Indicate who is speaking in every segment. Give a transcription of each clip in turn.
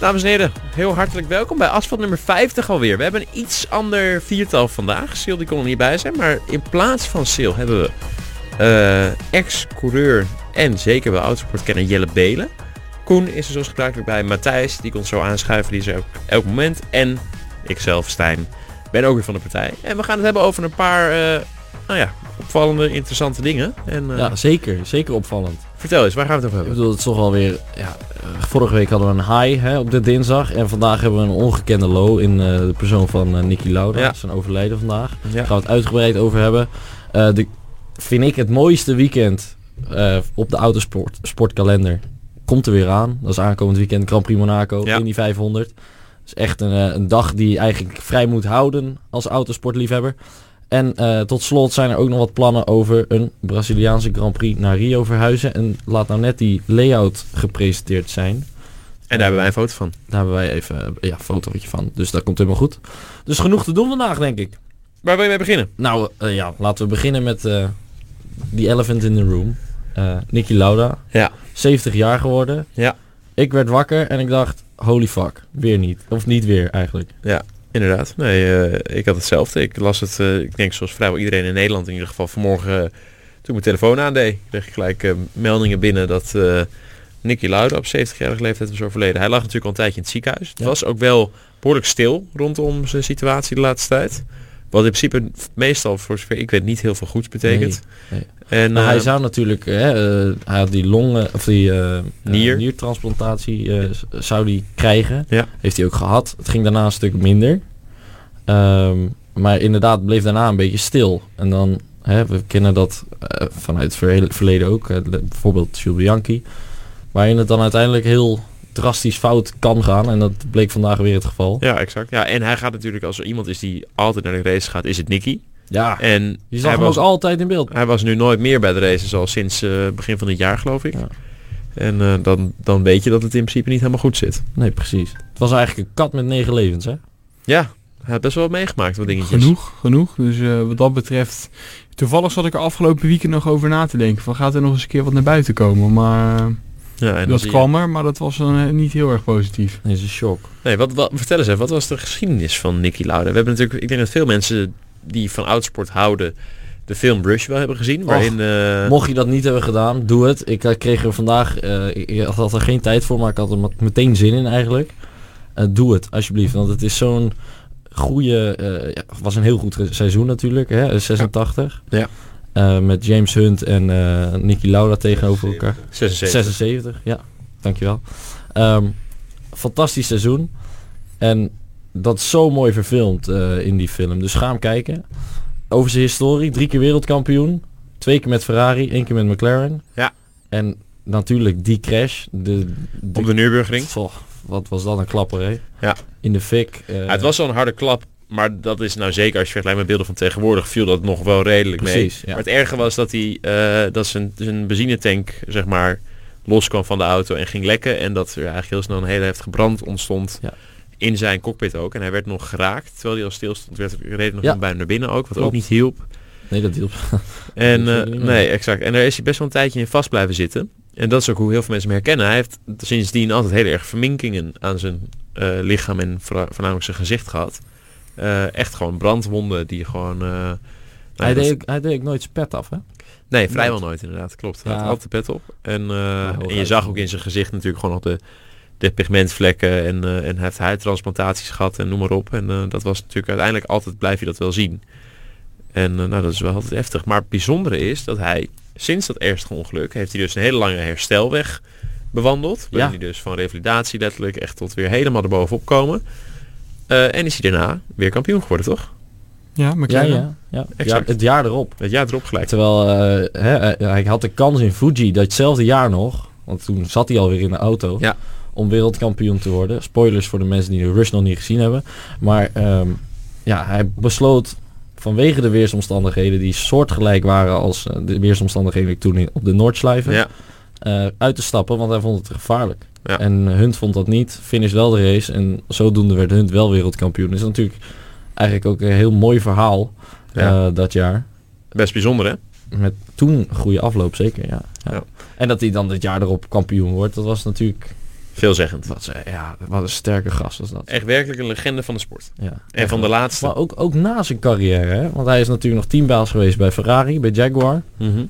Speaker 1: Dames en heren, heel hartelijk welkom bij asfalt nummer 50 alweer. We hebben een iets ander viertal vandaag. Sil die kon er niet bij zijn, maar in plaats van Sil hebben we eh, ex-coureur en zeker wel autosportkenner Jelle Belen. Koen is er zoals gebruikelijk bij. Matthijs, die kon zo aanschuiven, die is er ook elk moment. En ikzelf, Stijn, ben ook weer van de partij. En we gaan het hebben over een paar, eh, nou ja, opvallende, interessante dingen. En eh,
Speaker 2: Ja, zeker. Zeker opvallend.
Speaker 1: vertel eens, waar gaan we het over
Speaker 2: Ik
Speaker 1: hebben?
Speaker 2: bedoel, het is toch alweer... Ja, eh, vorige week hadden we een high hè, op de dinsdag. En vandaag hebben we een ongekende low in eh, de persoon van eh Nicky Lauda.
Speaker 1: Ja.
Speaker 2: Zijn overlijden vandaag. Daar
Speaker 1: Ja.
Speaker 2: gaan we het uitgebreid over hebben. Eh, de, vind ik het mooiste weekend eh, op de autosport sportkalender. Komt er weer aan. Dat is aankomend weekend Grand Prix Monaco
Speaker 1: Ja.
Speaker 2: in die 500. Dat is echt een, eh, een dag die je eigenlijk vrij moet houden als autosportliefhebber. En eh, tot slot zijn er ook nog wat plannen over een Braziliaanse Grand Prix naar Rio verhuizen. En laat nou net die layout gepresenteerd zijn.
Speaker 1: En daar hebben wij een foto van.
Speaker 2: Daar hebben wij even eh, ja, een fotootje van. Dus dat komt helemaal goed. Dus genoeg te doen vandaag, denk ik.
Speaker 1: Waar wil je mee beginnen?
Speaker 2: Nou eh, ja, laten we beginnen met eh die elephant in the room. Eh Nicky Lauda,
Speaker 1: Ja.
Speaker 2: 70 jaar geworden.
Speaker 1: Ja.
Speaker 2: Ik werd wakker en ik dacht, holy fuck, weer niet. Of niet weer eigenlijk.
Speaker 1: Inderdaad. Nee, eh, ik had hetzelfde. Ik las het, eh, ik denk zoals vrijwel iedereen in Nederland in ieder geval vanmorgen eh, toen ik mijn telefoon aandeed, kreeg ik gelijk eh, meldingen binnen dat eh Nicky Lauda op 70-jarige leeftijd was overleden. Hij lag natuurlijk al een tijdje in het ziekenhuis. Het
Speaker 2: Ja.
Speaker 1: was ook wel behoorlijk stil rondom zijn situatie de laatste tijd. Wat in principe meestal, voor zover ik weet, niet heel veel goeds betekent.
Speaker 2: Nee,
Speaker 1: En
Speaker 2: Maar hij
Speaker 1: eh,
Speaker 2: zou natuurlijk, hè, eh, hij had die longen, of die eh, eh,
Speaker 1: Nier.
Speaker 2: niertransplantatie eh, z- zou die krijgen.
Speaker 1: Ja.
Speaker 2: Heeft hij ook gehad. Het ging daarna een stuk minder. Ehm, maar inderdaad bleef daarna een beetje stil. En dan, hè, we kennen dat eh, vanuit het verhe- verleden ook. eh, le- bijvoorbeeld Jules Bianchi. Waarin het dan uiteindelijk heel drastisch fout kan gaan. En dat bleek vandaag weer het geval.
Speaker 1: ja, exact. Ja, en hij gaat natuurlijk, als er iemand is die altijd naar de race gaat, is het Nicky.
Speaker 2: Ja,
Speaker 1: En
Speaker 2: je zag
Speaker 1: hij
Speaker 2: hem
Speaker 1: was
Speaker 2: ook altijd in beeld.
Speaker 1: Hij was nu nooit meer bij de races al sinds eh, begin van dit jaar, geloof ik.
Speaker 2: Ja.
Speaker 1: En eh, dan, dan weet je dat het in principe niet helemaal goed zit.
Speaker 2: Nee, precies. Het was eigenlijk een kat met negen levens, hè?
Speaker 1: Ja, hij had best wel meegemaakt wat dingetjes.
Speaker 3: Genoeg, genoeg. Dus eh, wat dat betreft... Toevallig zat ik er afgelopen weekend nog over na te denken. Van gaat er nog eens een keer wat naar buiten komen? Maar eh,
Speaker 1: Ja, en dan
Speaker 3: dat
Speaker 1: zie je-
Speaker 3: kwam er, maar dat was dan eh, niet heel erg positief.
Speaker 2: Dat is een shock.
Speaker 1: Nee, wat, wat, vertel eens even, wat was de geschiedenis van Nicky Lauda? We hebben natuurlijk, ik denk dat veel mensen die van autosport houden, de film Rush wel hebben gezien. Waarin, eh,
Speaker 2: Mocht je dat niet hebben gedaan, doe het. Ik eh, kreeg er vandaag, eh, ik ik had er geen tijd voor, maar ik had er met- meteen zin in eigenlijk. Eh, doe het, alsjeblieft. Want het is zo'n goede, eh, ja, was een heel goed re- seizoen natuurlijk, hè? eh, 86.
Speaker 1: Ja.
Speaker 2: Eh, met James Hunt en eh, Nicky Lauda tegenover elkaar.
Speaker 1: 76.
Speaker 2: 76, ja. Dankjewel. Ehm fantastisch seizoen. En dat is zo mooi verfilmd eh, in die film. Dus ga hem kijken. Over zijn historie. Drie keer wereldkampioen. Twee keer met Ferrari. één keer met McLaren.
Speaker 1: Ja.
Speaker 2: En natuurlijk die crash. De, de,
Speaker 1: Op de Nürburgring.
Speaker 2: Goh, wat was dat een klapper, hè?
Speaker 1: Ja.
Speaker 2: In de fik. eh,
Speaker 1: Ja, het was al een harde klap, maar dat is nou zeker als je vergelijkt met beelden van tegenwoordig, viel dat nog wel redelijk mee.
Speaker 2: Precies, ja.
Speaker 1: Maar het erge was dat hij eh, dat zijn, zijn benzinetank zeg maar loskwam van de auto en ging lekken en dat er eigenlijk heel snel een hele heftige brand ontstond
Speaker 2: Ja.
Speaker 1: in zijn cockpit ook. En hij werd nog geraakt terwijl hij al stil stond, werd er- reed er nog
Speaker 2: Ja.
Speaker 1: iemand bij hem naar binnen ook, wat ook
Speaker 2: Klopt.
Speaker 1: niet hielp.
Speaker 2: Nee, dat hielp.
Speaker 1: En
Speaker 2: Dat
Speaker 1: eh,
Speaker 2: weet ik niet
Speaker 1: nee, exact. En daar is hij best wel een tijdje in vast blijven zitten. En dat is ook hoe heel veel mensen hem herkennen. Hij heeft sindsdien altijd heel erg verminkingen aan zijn eh, lichaam en vooral- voornamelijk zijn gezicht gehad. Eh, echt gewoon brandwonden die gewoon... eh, nou,
Speaker 2: hij,
Speaker 1: dat-
Speaker 2: deed, ook- hij deed ook nooit zijn pet af, hè?
Speaker 1: Nee, vrijwel nooit inderdaad. Klopt. Hij
Speaker 2: Ja.
Speaker 1: had altijd de pet op. En, eh,
Speaker 2: heel
Speaker 1: en je
Speaker 2: raar.
Speaker 1: zag ook in zijn gezicht natuurlijk gewoon nog de, de pigmentvlekken. En, eh, en hij heeft huidtransplantaties gehad en noem maar op. En eh, dat was natuurlijk uiteindelijk altijd blijf je dat wel zien. En eh, nou, dat is wel altijd heftig. Maar het bijzondere is dat hij sinds dat ernstige ongeluk heeft hij dus een hele lange herstelweg bewandeld. Waarin
Speaker 2: Ja.
Speaker 1: hij dus van revalidatie letterlijk echt tot weer helemaal erbovenop komen. Eh, en is hij daarna weer kampioen geworden, toch?
Speaker 3: Ja, maar
Speaker 2: Ja, ja. ja. ja
Speaker 1: Exact.
Speaker 2: het jaar erop.
Speaker 1: Het jaar erop gelijk.
Speaker 2: Terwijl eh, hè, eh, hij had de kans in Fuji datzelfde jaar nog, want toen zat hij alweer in de auto,
Speaker 1: Ja.
Speaker 2: om wereldkampioen te worden. Spoilers voor de mensen die de Rush nog niet gezien hebben. Maar ehm, ja, hij besloot vanwege de weersomstandigheden die soortgelijk waren als eh, de weersomstandigheden toen in, op de Noordslijven,
Speaker 1: Ja,
Speaker 2: eh, uit te stappen, want hij vond het te gevaarlijk.
Speaker 1: Ja.
Speaker 2: En Hunt vond dat niet, finish wel de race en zodoende werd Hunt wel wereldkampioen. Dus natuurlijk eigenlijk ook een heel mooi verhaal
Speaker 1: Ja.
Speaker 2: eh, dat jaar.
Speaker 1: best bijzonder hè?
Speaker 2: Met toen goede afloop, zeker, ja. ja.
Speaker 1: Ja.
Speaker 2: En dat hij dan dit jaar erop kampioen wordt, dat was natuurlijk
Speaker 1: Veelzeggend.
Speaker 2: Wat, ze- ja, wat een sterke gast was dat.
Speaker 1: Echt werkelijk een legende van de sport.
Speaker 2: Ja,
Speaker 1: En van de laatste.
Speaker 2: Maar ook, ook na zijn carrière, hè? want hij is natuurlijk nog teambaas geweest bij Ferrari, bij Jaguar.
Speaker 3: Mm-hmm.
Speaker 1: Mhm.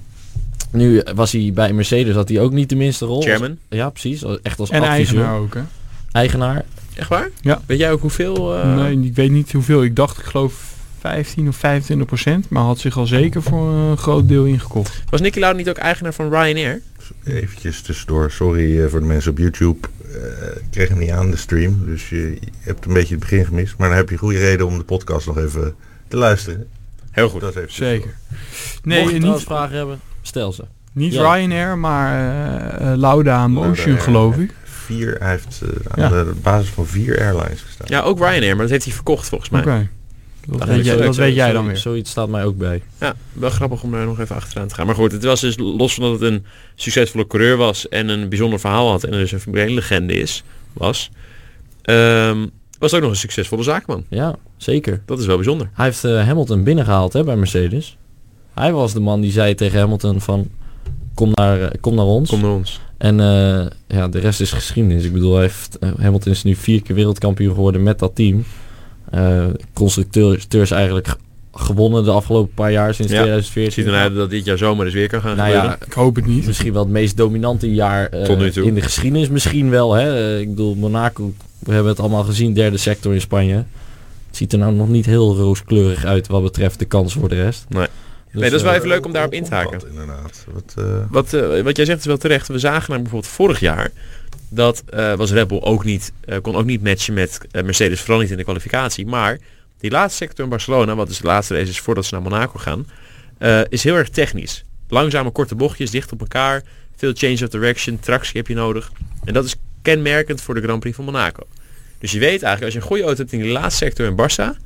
Speaker 2: Nu eh, was hij bij Mercedes, had hij ook niet de minste rol.
Speaker 1: Chairman.
Speaker 2: Als- ja, precies. als- Echt als
Speaker 3: En
Speaker 2: adviseur.
Speaker 3: eigenaar ook, hè?
Speaker 2: Eigenaar.
Speaker 1: Echt waar?
Speaker 3: Ja.
Speaker 1: Weet jij ook hoeveel? eh,
Speaker 3: nee, ik weet niet hoeveel. Ik dacht, ik geloof 15 of 25 procent. Maar had zich al zeker voor een groot deel ingekocht.
Speaker 1: Was Nicky Lauda niet ook eigenaar van Ryanair?
Speaker 4: Eventjes tussendoor, sorry eh, voor de mensen op YouTube. Eh, ik kreeg hem niet aan de stream, dus je, je hebt een beetje het begin gemist. Maar dan heb je goede reden om de podcast nog even te luisteren.
Speaker 1: Heel goed.
Speaker 4: Dat dus is even tussendoor.
Speaker 3: Zeker. Nee,
Speaker 2: Mocht je
Speaker 3: niet,
Speaker 2: trouwens vragen hebben, stel ze.
Speaker 3: niet
Speaker 2: Ja.
Speaker 3: Ryanair, maar eh, eh, Lauda Motion,
Speaker 4: Lauda, ja.
Speaker 3: geloof ik.
Speaker 4: Vier, hij heeft eh,
Speaker 3: Ja.
Speaker 4: aan de basis van vier airlines gestaan.
Speaker 1: Ja, ook Ryanair, maar dat heeft hij verkocht volgens
Speaker 3: Oké.
Speaker 1: mij.
Speaker 3: Dat,
Speaker 1: Dat
Speaker 3: weet
Speaker 1: is
Speaker 3: jij,
Speaker 1: leuk,
Speaker 3: dat
Speaker 1: zo-
Speaker 3: weet jij
Speaker 2: Zoiets-
Speaker 3: dan weer.
Speaker 2: Zoiets staat mij ook bij.
Speaker 1: Ja, wel grappig om daar nog even achteraan te gaan. Maar goed, het was dus los van dat het een succesvolle coureur was en een bijzonder verhaal had en dus een Formule 1 legende is, was, ehm, was het ook nog een succesvolle zaakman.
Speaker 2: Ja, zeker.
Speaker 1: Dat is wel bijzonder.
Speaker 2: Hij heeft eh, Hamilton binnengehaald hè, bij Mercedes. Hij was de man die zei tegen Hamilton van... Kom naar, eh, kom naar ons.
Speaker 1: Kom naar ons.
Speaker 2: En eh, ja, de rest is geschiedenis. Ik bedoel, hij heeft, eh, Hamilton is nu vier keer wereldkampioen geworden met dat team. Eh constructeurs eigenlijk g- gewonnen de afgelopen paar jaar sinds
Speaker 1: Ja,
Speaker 2: 2014.
Speaker 1: Het ziet eruit dat dit jaar zomer dus weer kan gaan
Speaker 2: Nou
Speaker 1: gebeuren.
Speaker 2: ja,
Speaker 3: Ik hoop het niet.
Speaker 2: misschien wel het meest dominante jaar eh,
Speaker 1: Tot nu toe.
Speaker 2: in de geschiedenis. Misschien wel. Hè? Eh, ik bedoel, Monaco, we hebben het allemaal gezien, derde sector in Spanje. Het ziet er nou nog niet heel rooskleurig uit wat betreft de kans voor de rest.
Speaker 1: Nee.
Speaker 2: Dus,
Speaker 1: Nee, dat is wel
Speaker 2: eh,
Speaker 1: even leuk om daarop in te haken.
Speaker 4: Hoe komt dat Inderdaad. Wat, eh,
Speaker 1: Wat, eh, wat jij zegt is wel terecht. We zagen namelijk bijvoorbeeld vorig jaar dat eh, was Red Bull ook niet, eh, kon ook niet matchen met eh, Mercedes, vooral niet in de kwalificatie. Maar die laatste sector in Barcelona, wat dus de laatste race is voordat ze naar Monaco gaan, eh, is heel erg technisch. Langzame korte bochtjes, dicht op elkaar, veel change of direction, tractie heb je nodig. En dat is kenmerkend voor de Grand Prix van Monaco. Dus je weet eigenlijk, als je een goede auto hebt in die laatste sector in Barça,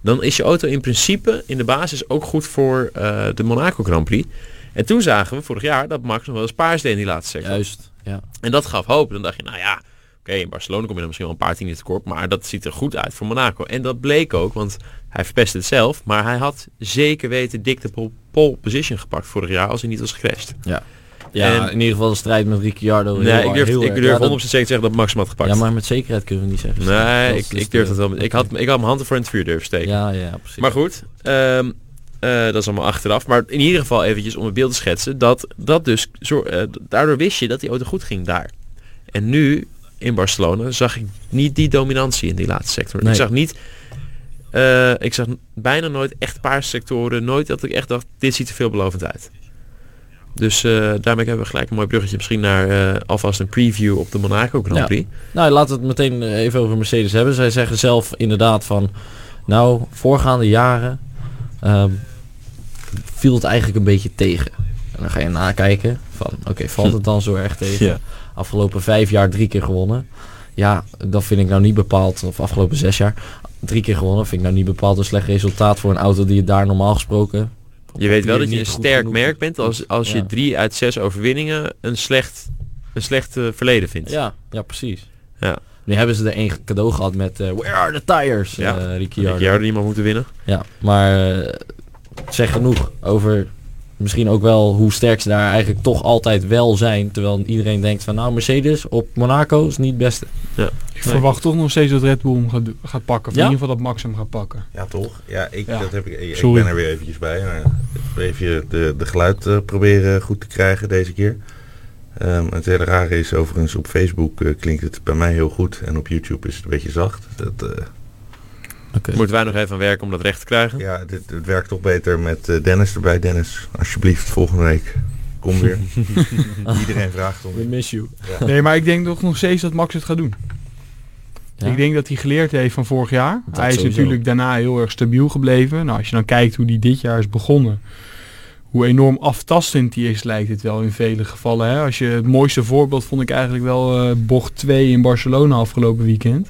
Speaker 1: dan is je auto in principe in de basis ook goed voor eh, de Monaco Grand Prix. En toen zagen we vorig jaar dat Max nog wel eens paars deed in die laatste sector.
Speaker 2: Juist, ja.
Speaker 1: En dat gaf hoop. Dan dacht je, nou ja, oké, in Barcelona kom je dan misschien wel een paar tienden tekort, maar dat ziet er goed uit voor Monaco. En dat bleek ook, want hij verpest het zelf, maar hij had zeker weten dik de pole- pole position gepakt vorig jaar als hij niet was gecrashed.
Speaker 2: ja
Speaker 1: En-
Speaker 2: in ieder geval de strijd met Ricciardo. heel
Speaker 1: Nee, ik
Speaker 2: erg,
Speaker 1: durf,
Speaker 2: heel
Speaker 1: ik
Speaker 2: erg.
Speaker 1: durf
Speaker 2: Ja,
Speaker 1: 100%
Speaker 2: dat-
Speaker 1: zeker te zeggen dat Max hem had gepakt.
Speaker 2: Ja, maar met zekerheid kunnen we niet zeggen.
Speaker 1: nee,
Speaker 2: Dat
Speaker 1: ik,
Speaker 2: is dus
Speaker 1: ik durf
Speaker 2: de-
Speaker 1: dat wel. Ik had, ik had mijn hand ervoor in het vuur durven steken.
Speaker 2: Ja, ja, precies.
Speaker 1: Maar goed, ehm, eh, dat is allemaal achteraf. Maar in ieder geval eventjes om het beeld te schetsen. Dat, dat dus, zo, eh, daardoor wist je dat die auto goed ging daar. En nu in Barcelona zag ik niet die dominantie in die laatste sector.
Speaker 2: Nee.
Speaker 1: Ik zag niet... eh, ik zag bijna nooit echt paarse sectoren. Nooit dat ik echt dacht, dit ziet er veelbelovend uit. Dus eh, daarmee hebben we gelijk een mooi bruggetje misschien naar eh, alvast een preview op de Monaco Grand
Speaker 2: Ja.
Speaker 1: Prix.
Speaker 2: Nou, laten we het meteen eh, even over Mercedes hebben. Zij zeggen zelf inderdaad van... Nou, voorgaande jaren ehm, viel het eigenlijk een beetje tegen. En dan ga je nakijken van... Oké, valt het dan zo erg tegen?
Speaker 1: Ja.
Speaker 2: Afgelopen vijf jaar drie keer gewonnen. Ja, dat vind ik nou niet bepaald... Of afgelopen zes jaar drie keer gewonnen. Vind ik nou niet bepaald een slecht resultaat voor een auto die het daar normaal gesproken...
Speaker 1: Je weet wel
Speaker 2: Weer
Speaker 1: dat je
Speaker 2: niet
Speaker 1: een
Speaker 2: goed
Speaker 1: sterk
Speaker 2: genoeg.
Speaker 1: merk bent als, als
Speaker 2: Ja.
Speaker 1: je drie uit zes overwinningen een slecht, een slecht eh, verleden vindt.
Speaker 2: Ja, ja precies.
Speaker 1: Ja.
Speaker 2: Nu hebben ze er één cadeau gehad met... eh, Where are the tires?
Speaker 1: Ja,
Speaker 2: eh,
Speaker 1: Dat
Speaker 2: Ricciardo.
Speaker 1: ik jou er iemand moeten winnen.
Speaker 2: Ja, maar eh, het zegt genoeg over misschien ook wel hoe sterk ze daar eigenlijk toch altijd wel zijn. Terwijl iedereen denkt van nou Mercedes op Monaco is niet het beste.
Speaker 3: Ik verwacht toch nog steeds dat Red Bull hem gaat, do- gaat pakken. Of
Speaker 2: Ja?
Speaker 3: in ieder geval dat Max hem gaat pakken.
Speaker 4: ja, toch? Ja, ik,
Speaker 3: Ja.
Speaker 4: Dat heb ik, ik
Speaker 3: Sorry.
Speaker 4: ben er weer eventjes bij. Maar even de, de geluid eh, proberen goed te krijgen deze keer. Ehm, het hele rare is overigens, op Facebook eh, klinkt het bij mij heel goed. En op YouTube is het een beetje zacht. Dat, eh,
Speaker 2: Oké.
Speaker 1: Moeten wij nog even aan werken om dat recht te krijgen.
Speaker 4: ja, dit, het werkt toch beter met eh, Dennis erbij. Dennis, alsjeblieft, volgende week. Kom weer. Iedereen vraagt om.
Speaker 2: miss you.
Speaker 3: Nee, maar ik denk toch nog steeds dat Max het gaat doen.
Speaker 2: Ja.
Speaker 3: Ik denk dat hij geleerd heeft van vorig jaar.
Speaker 2: Dat
Speaker 3: hij is
Speaker 2: sowieso.
Speaker 3: natuurlijk daarna heel erg stabiel gebleven. Nou, als je dan kijkt hoe die dit jaar is begonnen. Hoe enorm aftastend die is, lijkt het wel in vele gevallen. Hè? Als je, het mooiste voorbeeld vond ik eigenlijk wel eh, bocht 2 in Barcelona afgelopen weekend.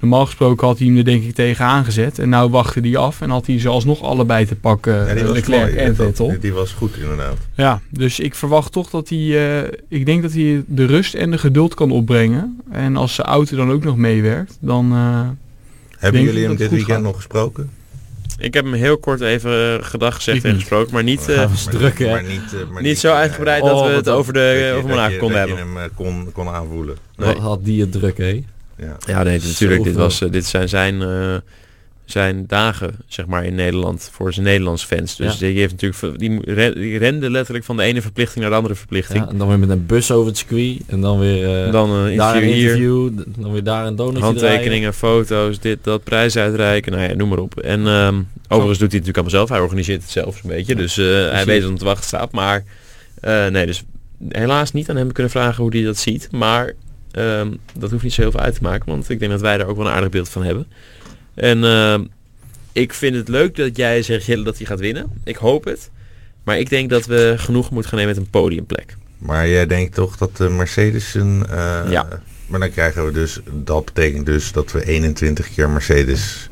Speaker 3: Normaal gesproken had hij hem er denk ik tegen aangezet. En nou wachtte hij af en had hij ze alsnog allebei te pakken. eh,
Speaker 4: Ja, die was
Speaker 3: Leclerc
Speaker 4: mooi.
Speaker 3: en
Speaker 4: Dat-
Speaker 3: Vettel.
Speaker 4: Die was goed, inderdaad.
Speaker 3: Ja, dus ik verwacht toch dat hij... eh, ik denk dat hij de rust en de geduld kan opbrengen. En als zijn auto dan ook nog meewerkt, dan... eh,
Speaker 4: Hebben
Speaker 3: Denk
Speaker 4: jullie
Speaker 3: je
Speaker 4: hem
Speaker 3: dat
Speaker 4: dit
Speaker 3: het goed
Speaker 4: weekend
Speaker 3: gaat?
Speaker 4: nog gesproken?
Speaker 1: Ik heb hem heel kort even eh, gedag gezegd
Speaker 3: Ik
Speaker 1: en
Speaker 3: niet.
Speaker 1: gesproken, maar niet, eh,
Speaker 2: Ja, was druk, hè?
Speaker 4: Maar niet, eh, maar
Speaker 1: niet zo
Speaker 4: eh,
Speaker 1: uitgebreid
Speaker 2: Oh,
Speaker 1: dat we
Speaker 2: wat
Speaker 1: het
Speaker 2: dan?
Speaker 1: over,
Speaker 4: dat je-
Speaker 1: de, over mijn
Speaker 4: dat
Speaker 1: laag
Speaker 4: je-
Speaker 1: konden hebben.
Speaker 4: Dat je hem eh, kon, kon aanvoelen.
Speaker 1: Nee.
Speaker 2: Wat had die het druk, hé?
Speaker 4: Ja.
Speaker 1: Ja, nee, natuurlijk. Dit,
Speaker 2: Zoveel.
Speaker 1: was, eh, dit zijn zijn, eh, zijn dagen, zeg maar, in Nederland voor zijn Nederlandse fans. Dus
Speaker 2: Ja.
Speaker 1: die, heeft natuurlijk, ver- die, mo- re- die rende letterlijk van de ene verplichting naar de andere verplichting.
Speaker 2: Ja, en dan weer met een bus over het circuit. En dan weer eh,
Speaker 1: Dan een
Speaker 2: daar
Speaker 1: interview
Speaker 2: een
Speaker 1: hier,
Speaker 2: interview. d- Dan weer daar een donutje draaien.
Speaker 1: handtekeningen, foto's, dit, dat, prijs uitreiken, nou ja, noem maar op. En ehm, overigens doet hij het natuurlijk allemaal zelf. Hij organiseert het zelf een beetje, dus eh, hij
Speaker 2: precies.
Speaker 1: weet wat hem te wachten staat. Maar eh, nee, dus helaas niet aan hem kunnen vragen hoe hij dat ziet. Maar ehm, dat hoeft niet zo heel veel uit te maken, want ik denk dat wij daar ook wel een aardig beeld van hebben. En ehm, ik vind het leuk dat jij zegt Jelle, dat hij gaat winnen. Ik hoop het. Maar ik denk dat we genoeg moeten gaan nemen met een podiumplek.
Speaker 4: Maar jij denkt toch dat de Mercedes een... eh,
Speaker 1: Ja.
Speaker 4: Maar dan krijgen we dus... Dat betekent dus dat we 21 keer Mercedes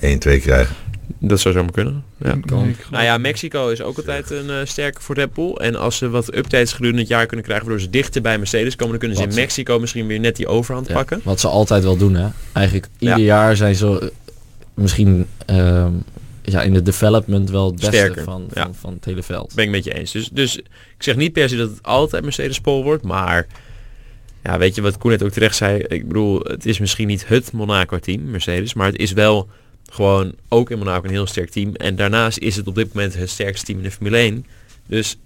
Speaker 4: 1-2 krijgen.
Speaker 1: Dat zou zomaar kunnen. Ja.
Speaker 3: Ik
Speaker 2: kan.
Speaker 3: geloof-
Speaker 1: Nou ja, Mexico is ook altijd een eh, sterke voor Red Bull. En als ze wat updates gedurende het jaar kunnen krijgen, waardoor ze dichter bij Mercedes komen, dan kunnen ze
Speaker 2: Wat
Speaker 1: in
Speaker 2: ze-
Speaker 1: Mexico misschien weer net die overhand
Speaker 2: Ja,
Speaker 1: pakken.
Speaker 2: Wat ze altijd wel doen, hè? Eigenlijk ieder
Speaker 1: Ja.
Speaker 2: jaar zijn ze eh, misschien ehm, ja, in de development wel het beste
Speaker 1: Sterker,
Speaker 2: van,
Speaker 1: ja.
Speaker 2: van, van het hele veld.
Speaker 1: Ben ik met je eens. Dus, dus ik zeg niet per se dat het altijd Mercedes Pol wordt, maar ja, weet je wat Koen net ook terecht zei? Ik bedoel, het is misschien niet het Monaco-team, Mercedes, maar het is wel gewoon ook in Monaco een heel sterk team. En daarnaast is het op dit moment het sterkste team in de Formule 1. Dus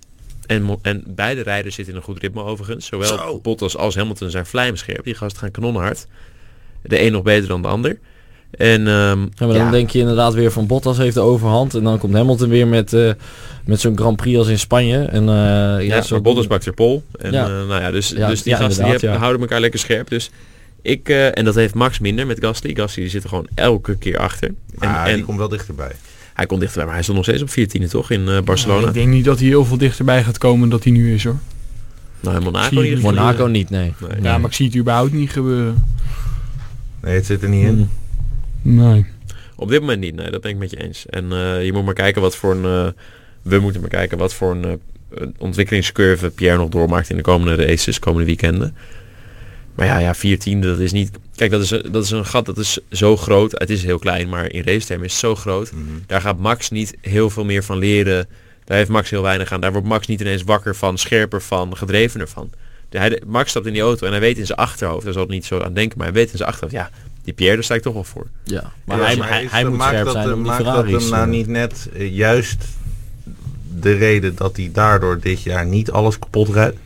Speaker 1: en, Mo- en beide rijders zitten in een goed ritme overigens. Zowel
Speaker 4: Zo.
Speaker 1: Bottas als Hamilton zijn vlijmscherp. Die gasten gaan kanonhard. De een nog beter dan de ander. En ehm,
Speaker 2: Ja, maar dan
Speaker 1: ja.
Speaker 2: denk je inderdaad weer van Bottas heeft de overhand. En dan komt Hamilton weer met, eh, met zo'n Grand Prix als in Spanje. En, eh,
Speaker 1: Ja,
Speaker 2: zo-
Speaker 1: maar Bottas bakt er pol. En,
Speaker 2: Ja.
Speaker 1: eh, nou ja, dus,
Speaker 2: Ja,
Speaker 1: dus die gasten die
Speaker 2: ja, inderdaad,
Speaker 1: hebben-
Speaker 2: ja.
Speaker 1: houden elkaar lekker scherp. Dus ik, eh, en dat heeft Max minder met Gasly. Gasly die zit er gewoon elke keer achter.
Speaker 4: Maar
Speaker 1: en
Speaker 4: Ah, die
Speaker 1: en
Speaker 4: komt wel dichterbij.
Speaker 1: hij komt dichterbij, maar hij stond nog steeds op 14 toch in eh,
Speaker 3: Nou,
Speaker 1: Barcelona.
Speaker 3: ik denk niet dat hij heel veel dichterbij gaat komen dan hij nu is hoor.
Speaker 1: nou, in Monaco
Speaker 3: Zie
Speaker 1: in ieder geval.
Speaker 2: Monaco niet, nee.
Speaker 1: Nee.
Speaker 2: Nee.
Speaker 3: Ja, maar ik zie het überhaupt niet gebeuren.
Speaker 4: Nee, het zit er niet
Speaker 1: Mm-hmm.
Speaker 4: in.
Speaker 3: Nee.
Speaker 1: Op dit moment niet, nee, dat ben ik met je eens. En eh, je moet maar kijken wat voor een... eh, we moeten maar kijken wat voor een eh, een ontwikkelingscurve Pierre nog doormaakt in de komende races, komende weekenden. Maar ja, ja, 14 dat is niet... Kijk, dat is, een- dat is een gat, dat is zo groot. Het is heel klein, maar in race termen is het zo groot.
Speaker 4: Mhm.
Speaker 1: Daar gaat Max niet heel veel meer van leren. Daar heeft Max heel weinig aan. Daar wordt Max niet ineens wakker van, scherper van, gedrevener van. De, hij, Max stapt in die auto en hij weet in zijn achterhoofd, daar zal het niet zo aan denken, maar hij weet in zijn achterhoofd, ja, die Pierre, daar sta ik toch wel voor.
Speaker 2: Ja.
Speaker 1: Maar
Speaker 2: Maar
Speaker 1: Ja,
Speaker 2: hij,
Speaker 1: maar
Speaker 2: hij,
Speaker 4: is-
Speaker 2: hij moet
Speaker 4: maakt
Speaker 2: scherp
Speaker 4: dat,
Speaker 2: zijn
Speaker 4: eh,
Speaker 2: om die
Speaker 4: maakt dat
Speaker 2: Ferraris.
Speaker 4: hem nou
Speaker 2: eh,
Speaker 4: niet net eh, juist de reden dat hij daardoor dit jaar niet alles kapot rijdt?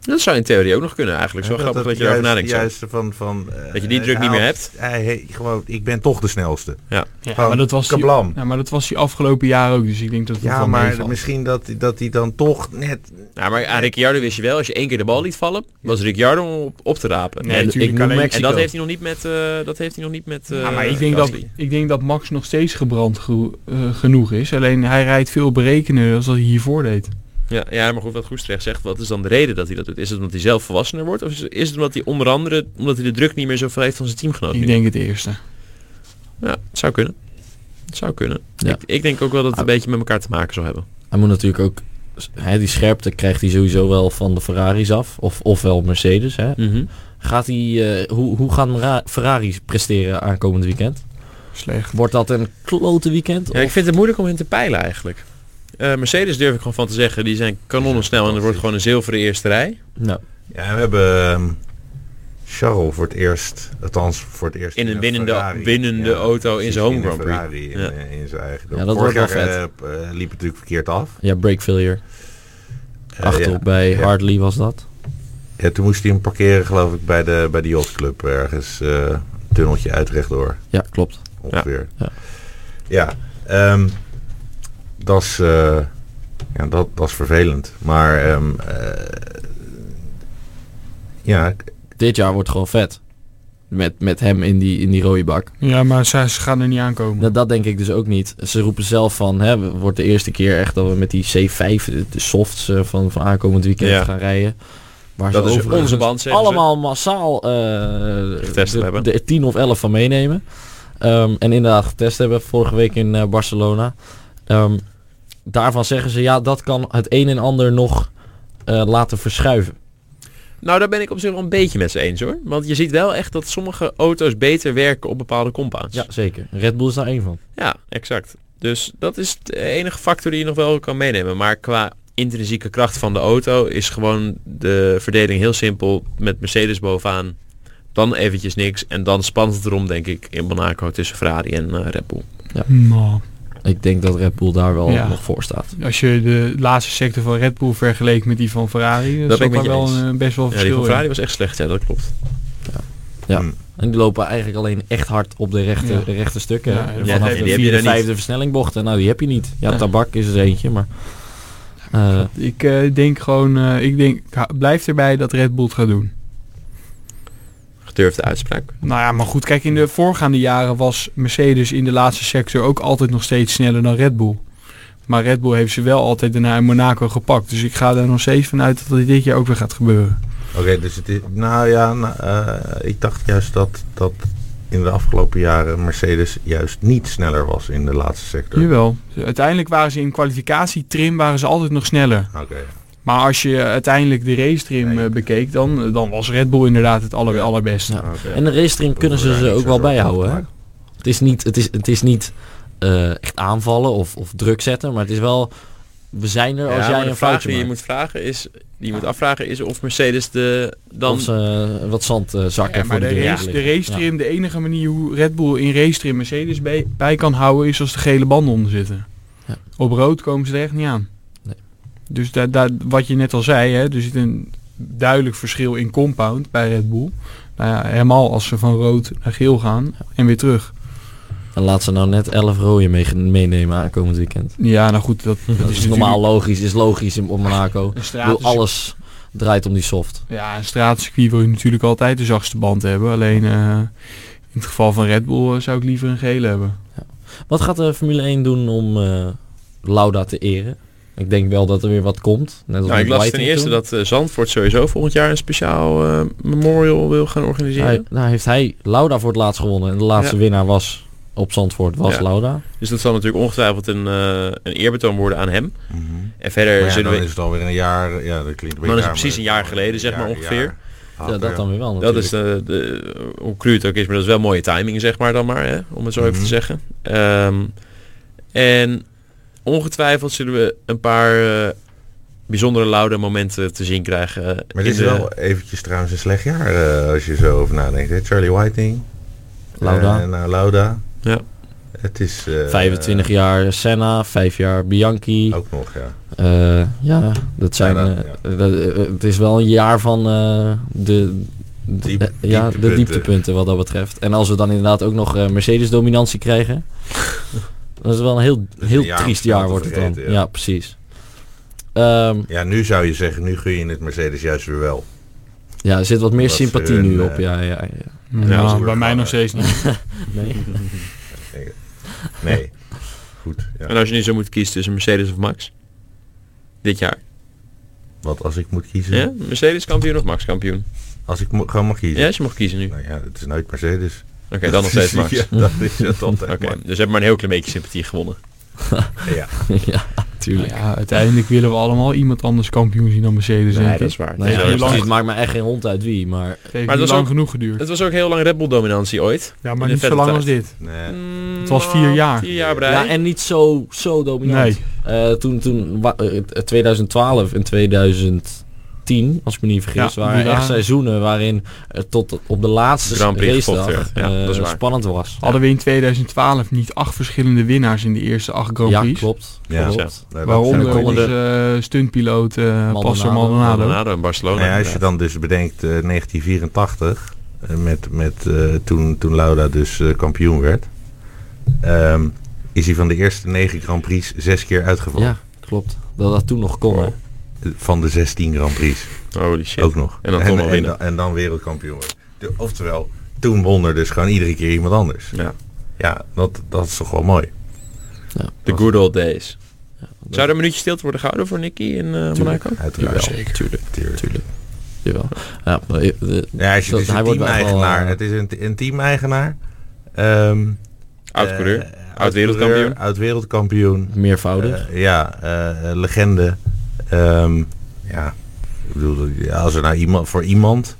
Speaker 1: Dat zou in theorie ook nog kunnen eigenlijk. Zo grappig dat, je
Speaker 4: juist-
Speaker 1: daarover nadenkt. zo.
Speaker 4: Juist van, van, eh,
Speaker 1: Dat je die druk
Speaker 4: hij
Speaker 1: niet meer
Speaker 4: haalt-
Speaker 1: hebt.
Speaker 4: Hij, hij- gewoon, ik ben toch de snelste.
Speaker 3: Ja,
Speaker 4: Gewoon
Speaker 3: maar dat was die,
Speaker 4: kablam.
Speaker 3: ja, maar dat was die afgelopen jaar ook, dus ik denk dat het
Speaker 4: Ja,
Speaker 3: wel
Speaker 4: maar
Speaker 3: meevalt.
Speaker 4: misschien dat, hij- dat hij dan toch net...
Speaker 1: Nou, maar aan Ricciardo wist je wel, als je één keer de bal liet vallen, was Ricciardo om op, op te rapen.
Speaker 3: Nee,
Speaker 1: en,
Speaker 3: natuurlijk
Speaker 2: ik noem
Speaker 3: alleen-
Speaker 1: en
Speaker 2: Mexico.
Speaker 1: dat heeft hij nog niet met... eh, dat heeft hij nog niet met eh,
Speaker 3: Ja, maar ik denk, dat,
Speaker 1: Gasly.
Speaker 3: ik denk dat Max nog steeds gebrand gro- eh, genoeg is. Alleen hij rijdt veel berekender dan dat hij hiervoor deed.
Speaker 1: Ja, ja, maar goed, wat Goes terecht zegt, wat is dan de reden dat hij dat doet? Is het omdat hij zelf volwassener wordt? Of is, is het omdat hij onder andere, omdat hij de druk niet meer zoveel heeft van zijn teamgenoot nu?
Speaker 3: Ik denk het eerste.
Speaker 1: Ja, het zou kunnen. Het zou kunnen.
Speaker 2: Ja.
Speaker 1: Ik, ik denk ook wel dat het een beetje met elkaar te maken zal hebben.
Speaker 2: Hij moet natuurlijk ook... Hij, die scherpte krijgt hij sowieso wel van de Ferraris af. Of, ofwel Mercedes. Hè. Gaat hij, eh, hoe, hoe gaan Mera- Ferraris presteren aankomend weekend?
Speaker 3: Slecht.
Speaker 2: Wordt dat een klote weekend?
Speaker 1: Ja, ik vind het moeilijk om hen te peilen eigenlijk. Eh, Mercedes durf ik gewoon van te zeggen, die zijn kanonnen snel en er wordt gewoon een zilveren eerste rij.
Speaker 2: Of- nou,
Speaker 4: Ja, we hebben ehm, Charles voor het eerst, althans voor het eerst...
Speaker 1: In een winnende-
Speaker 4: Ferrari.
Speaker 1: winnende auto in
Speaker 4: precies,
Speaker 1: zijn home
Speaker 4: in een
Speaker 1: Grand Prix.
Speaker 4: Ferrari, in,
Speaker 1: Ja.
Speaker 4: eh, in zijn eigen.
Speaker 2: Ja, dat
Speaker 4: Vorig
Speaker 2: wordt wel
Speaker 4: jaar, eh, eh, liep het natuurlijk verkeerd af.
Speaker 2: ja, break failure.
Speaker 4: Eh,
Speaker 2: Achterop
Speaker 4: ja.
Speaker 2: bij
Speaker 4: Ja.
Speaker 2: Hartley was dat.
Speaker 4: Ja, toen moest hij hem parkeren, geloof ik, bij de, bij de yachtclub. Ergens eh, een tunneltje uit rechtdoor,
Speaker 2: Ja, klopt.
Speaker 4: ongeveer.
Speaker 2: Ja.
Speaker 4: Ja, ehm, dat is... eh, ja, dat, dat is vervelend. Maar... ehm, eh, ja, k-
Speaker 2: Dit jaar wordt gewoon vet. Met, met hem in die, in die rode bak.
Speaker 3: Ja, maar ze, ze gaan er niet aankomen.
Speaker 1: Mm.
Speaker 2: Nou, dat denk ik dus ook niet. Ze roepen zelf van, hè, het wordt de eerste keer echt dat we met die C5, de, de softs eh, van, van aankomend weekend
Speaker 1: Ja.
Speaker 2: gaan rijden. Waar
Speaker 1: Dat
Speaker 2: ze
Speaker 1: is
Speaker 2: overigens
Speaker 1: onze band, zeggen ze.
Speaker 2: allemaal massaal eh,
Speaker 1: Getest
Speaker 2: de,
Speaker 1: hebben.
Speaker 2: de 10 of 11 van meenemen. Ehm, en inderdaad getest hebben vorige week in eh, Barcelona. Ehm, daarvan zeggen ze, ja, dat kan het een en ander nog eh, laten verschuiven.
Speaker 1: Nou, daar ben ik op zich wel een beetje met ze eens hoor. Want je ziet wel echt dat sommige auto's beter werken op bepaalde compounds.
Speaker 2: Ja, zeker. Red Bull is daar één van.
Speaker 1: Ja, exact. Dus dat is de enige factor die je nog wel kan meenemen. Maar qua intrinsieke kracht van de auto is gewoon de verdeling heel simpel. Met Mercedes bovenaan, dan eventjes niks. En dan spant het erom, denk ik, in Monaco tussen Ferrari en eh, Red Bull.
Speaker 3: Nou,
Speaker 2: Ik denk dat Red Bull daar wel
Speaker 3: Ja.
Speaker 2: nog voor staat.
Speaker 3: als je de laatste sector van Red Bull vergeleek met die van Ferrari,
Speaker 1: Dat
Speaker 3: dan dat
Speaker 1: ben
Speaker 3: is
Speaker 1: ik
Speaker 3: daar
Speaker 1: met je
Speaker 3: wel
Speaker 1: eens.
Speaker 3: een, best wel
Speaker 1: Ja, die
Speaker 3: verschil
Speaker 1: van
Speaker 2: eh?
Speaker 3: in.
Speaker 1: Ferrari was echt slecht, ja, dat klopt.
Speaker 2: Ja.
Speaker 4: Hm.
Speaker 2: En die lopen eigenlijk alleen echt hard op de rechte,
Speaker 3: Ja.
Speaker 2: de rechte stukken.
Speaker 3: Ja,
Speaker 2: hè.
Speaker 3: ja,
Speaker 2: Vanaf
Speaker 1: die heb
Speaker 2: de
Speaker 1: je
Speaker 2: vierde,
Speaker 1: daar niet.
Speaker 2: vijfde versnellingbochten. Nou, die heb je niet. Ja,
Speaker 3: Nee.
Speaker 2: tabak is er eentje, maar... eh,
Speaker 3: Ik eh, denk gewoon, eh, ik denk, ik ha- blijf erbij dat Red Bull het gaat doen.
Speaker 1: Gedurfde uitspraak.
Speaker 3: Nou ja, maar goed, kijk, in de voorgaande jaren was Mercedes in de laatste sector ook altijd nog steeds sneller dan Red Bull. Maar Red Bull heeft ze wel altijd daarna in Monaco gepakt. Dus ik ga daar nog steeds van uit dat dat dit jaar ook weer gaat gebeuren.
Speaker 4: Oké, dus het is... Nou ja, nou, eh, ik dacht juist dat, dat in de afgelopen jaren Mercedes juist niet sneller was in de laatste sector.
Speaker 3: Jawel. Uiteindelijk waren ze in kwalificatietrim waren ze altijd nog sneller.
Speaker 4: Oké.
Speaker 3: Maar als je uiteindelijk de race trim eh, bekeek, dan, dan was Red Bull inderdaad het aller, allerbeste.
Speaker 2: Ja.
Speaker 4: oké.
Speaker 2: En de race trim kunnen ze
Speaker 4: Daar
Speaker 2: ze
Speaker 4: niet
Speaker 2: ook
Speaker 4: zo
Speaker 2: wel
Speaker 4: zorgen
Speaker 2: bijhouden.
Speaker 4: over
Speaker 2: Hè? Het is niet, het is, het is niet eh, echt aanvallen of, of druk zetten, maar het is wel... We zijn er als
Speaker 1: Ja, maar
Speaker 2: jij
Speaker 1: de
Speaker 2: een
Speaker 1: vraag
Speaker 2: foutje
Speaker 1: die je
Speaker 2: maakt.
Speaker 1: moet vragen is, die je moet afvragen is of Mercedes de dan
Speaker 2: Of ze eh, wat zand eh, zakken
Speaker 3: Ja,
Speaker 2: voor
Speaker 3: maar de,
Speaker 2: die drie
Speaker 3: race,
Speaker 2: jaar
Speaker 3: de
Speaker 2: liggen.
Speaker 3: race trim, de enige manier hoe Red Bull in race trim Mercedes bij, bij kan houden is als de gele banden onder zitten.
Speaker 2: Ja.
Speaker 3: Op rood komen ze er echt niet aan.
Speaker 2: Nee.
Speaker 3: Dus daar daar wat je net al zei, hè, er zit een duidelijk verschil in compound bij Red Bull. Nou ja, helemaal als ze van rood naar geel gaan en weer terug.
Speaker 2: Ja. En laat ze nou net 11 rooien mee, meenemen aankomend weekend.
Speaker 3: Ja, nou goed, dat,
Speaker 2: Dat, is, normaal logisch, is logisch in op Monaco. Ik
Speaker 3: Een
Speaker 2: bedoel,
Speaker 3: straatcircuit,
Speaker 2: alles draait om die soft.
Speaker 3: ja, een straatcircuit wil je natuurlijk altijd de zachtste band hebben. Alleen eh, in het geval van Red Bull eh, zou ik liever een gele hebben.
Speaker 2: Wat gaat de Formule 1 doen om eh, Lauda te eren? Ik denk wel dat er weer wat komt. Net als
Speaker 1: Nou, ik
Speaker 2: met
Speaker 1: las ten
Speaker 2: Whiting
Speaker 1: eerste
Speaker 2: toen.
Speaker 1: dat eh, Zandvoort sowieso volgend jaar een speciaal eh, memorial wil gaan organiseren.
Speaker 2: Hij, nou, heeft hij Lauda voor het laatst gewonnen. En de laatste
Speaker 1: Ja.
Speaker 2: winnaar was op Zandvoort, was
Speaker 1: Ja.
Speaker 2: Lauda.
Speaker 1: Dus dat zal natuurlijk ongetwijfeld een, eh, een eerbetoon worden aan hem.
Speaker 4: Mhm.
Speaker 1: En verder
Speaker 4: Maar ja,
Speaker 1: zullen
Speaker 4: dan
Speaker 1: we...
Speaker 4: is het alweer een jaar. Ja, dat klinkt een
Speaker 1: Dan
Speaker 4: beetje
Speaker 1: is het
Speaker 4: raar,
Speaker 1: precies
Speaker 4: maar-
Speaker 1: een jaar geleden, zeg maar, ongeveer.
Speaker 4: jaar
Speaker 2: Ja,
Speaker 4: later,
Speaker 2: dat dan weer wel
Speaker 1: Dat
Speaker 2: natuurlijk.
Speaker 1: is de, de, hoe cru het ook is, maar dat is wel mooie timing, zeg maar dan maar, hè, om het zo even
Speaker 4: Mhm.
Speaker 1: te zeggen. Ehm, en ongetwijfeld zullen we een paar eh, bijzondere laude momenten te zien krijgen. eh,
Speaker 4: Maar
Speaker 1: in
Speaker 4: dit is
Speaker 1: de-
Speaker 4: wel eventjes trouwens een slecht jaar eh, als je zo over nadenkt. hè. Charlie Whiting.
Speaker 2: Lauda.
Speaker 4: eh, nou, Lauda.
Speaker 1: Ja.
Speaker 4: Het is... eh,
Speaker 2: 25 jaar Senna, 5 jaar Bianchi.
Speaker 4: Ook nog, ja.
Speaker 2: Eh, ja, dat zijn...
Speaker 4: Ja, dat-
Speaker 2: eh, dat- eh, het is wel een jaar van eh, de... de-
Speaker 4: Diep-
Speaker 2: eh, ja, de
Speaker 4: dieptepunten.
Speaker 2: dieptepunten wat dat betreft. En als we dan inderdaad ook nog eh, Mercedes-dominantie krijgen... dat is wel een heel,
Speaker 4: een
Speaker 2: heel
Speaker 4: jaar om
Speaker 2: triest
Speaker 4: snel
Speaker 2: jaar
Speaker 4: te
Speaker 2: wordt het dan. Ja,
Speaker 4: vergeten, ja.
Speaker 2: precies. Ehm,
Speaker 4: Ja, nu zou je zeggen, nu gun je het Mercedes juist weer wel.
Speaker 2: ja, er zit wat meer
Speaker 4: Wat
Speaker 2: sympathie
Speaker 4: hun,
Speaker 2: nu
Speaker 4: eh,
Speaker 2: op. Ja, ja, ja.
Speaker 1: Ja,
Speaker 3: Nou,
Speaker 4: dat is
Speaker 3: bij mij
Speaker 4: ook-
Speaker 3: nog steeds niet.
Speaker 2: Nee.
Speaker 4: Nee. Goed. Ja.
Speaker 1: En als je nu zo moet kiezen tussen Mercedes of Max? Dit jaar.
Speaker 4: Wat als ik moet kiezen?
Speaker 1: Ja? Mercedes kampioen of Max kampioen?
Speaker 4: Als ik mo- gewoon mag kiezen?
Speaker 1: Ja, als je mag kiezen nu.
Speaker 4: Nou ja, het is nooit Mercedes.
Speaker 1: Oké, dan nog steeds Max.
Speaker 4: Ja,
Speaker 1: Oké,
Speaker 4: dat is het altijd. Max.
Speaker 1: dus heb maar een heel klein beetje sympathie gewonnen.
Speaker 4: Ja.
Speaker 2: ja,
Speaker 3: Nou
Speaker 2: tuurlijk.
Speaker 3: ja, uiteindelijk willen we allemaal iemand anders kampioen zien dan Mercedes. denk ik.
Speaker 1: waar.
Speaker 2: Nou ja,
Speaker 3: heel
Speaker 2: precies,
Speaker 3: lang.
Speaker 2: het maakt me echt geen hond uit wie, maar...
Speaker 3: Het heeft
Speaker 1: Maar
Speaker 3: maar
Speaker 1: dat
Speaker 3: dat
Speaker 1: is
Speaker 3: lang
Speaker 1: ook-
Speaker 3: genoeg geduurd.
Speaker 1: Het was ook heel lang Red Bull dominantie ooit.
Speaker 3: Ja,
Speaker 1: in
Speaker 3: maar
Speaker 1: de
Speaker 3: niet zo
Speaker 1: vette
Speaker 3: lang
Speaker 1: tijd.
Speaker 3: als dit.
Speaker 4: Nee.
Speaker 1: Het
Speaker 3: was vier jaar.
Speaker 1: Vier jaar bij.
Speaker 2: Ja, en niet zo, zo dominant.
Speaker 3: Nee.
Speaker 2: Eh, toen, toen wa- eh, eh, 2012 en 2010, als ik me niet vergis,
Speaker 3: Ja,
Speaker 2: waren
Speaker 3: die
Speaker 2: echt
Speaker 3: waren-
Speaker 2: seizoenen waarin het tot op de laatste
Speaker 1: Grand Prix
Speaker 2: racedag
Speaker 1: gevochten werd. Ja,
Speaker 2: eh,
Speaker 1: dat is waar.
Speaker 2: spannend was.
Speaker 3: Hadden we in 2012 niet acht verschillende winnaars in de eerste acht Grand
Speaker 2: ja,
Speaker 3: Prix?
Speaker 2: klopt.
Speaker 4: Ja.
Speaker 2: klopt.
Speaker 4: Nee, dat zou
Speaker 3: Waaronder
Speaker 4: ik
Speaker 3: onze
Speaker 4: niet-
Speaker 3: eh, stuntpiloot eh
Speaker 2: Maldonado.
Speaker 3: Pastor Maldonado.
Speaker 1: Maldonado en Barcelona.
Speaker 4: Nou ja, als je
Speaker 1: inderdaad.
Speaker 4: dan dus bedenkt eh, 1984, eh, met, met, eh, toen, toen Lauda dus eh, kampioen werd, ehm, is hij van de eerste negen Grand Prix zes keer uitgevallen.
Speaker 2: Ja, klopt. Dat dat toen nog kon. hè.
Speaker 4: Eh, Van de 16 Grand Prix
Speaker 1: Holy shit.
Speaker 4: ook nog.
Speaker 1: En dan toch nog
Speaker 4: en,
Speaker 1: winnen.
Speaker 4: dan, en dan wereldkampioen wordt. De- Oftewel, toen won er dus gewoon iedere keer iemand anders.
Speaker 1: Ja.
Speaker 4: Ja, dat, dat is toch wel mooi.
Speaker 1: The good old days.
Speaker 2: Dat-
Speaker 1: Zou er een minuutje stilte worden gehouden voor Nicky in eh, Monaco?
Speaker 4: Uiteraard.
Speaker 2: Jawel, Tuurlijk,
Speaker 4: Tuurlijk.
Speaker 2: tuurlijk. Jawel. Ja, maar, eh, de-
Speaker 4: Ja, als je
Speaker 2: Dat-
Speaker 4: dus
Speaker 2: hij
Speaker 4: een
Speaker 2: wordt wel,
Speaker 4: team-eigenaar.
Speaker 2: eh,
Speaker 4: Het is een, een team-eigenaar. Ehm,
Speaker 1: Oud-coureur.
Speaker 4: eh,
Speaker 1: Oud-wereldkampioen.
Speaker 2: Oh,
Speaker 1: Eh.
Speaker 2: dus?
Speaker 4: Oud-wereldkampioen.
Speaker 2: meervoudig.
Speaker 4: Eh, ja, eh, legende. Ehm, ja, bedoel, ja, als er nou iemand, voor iemand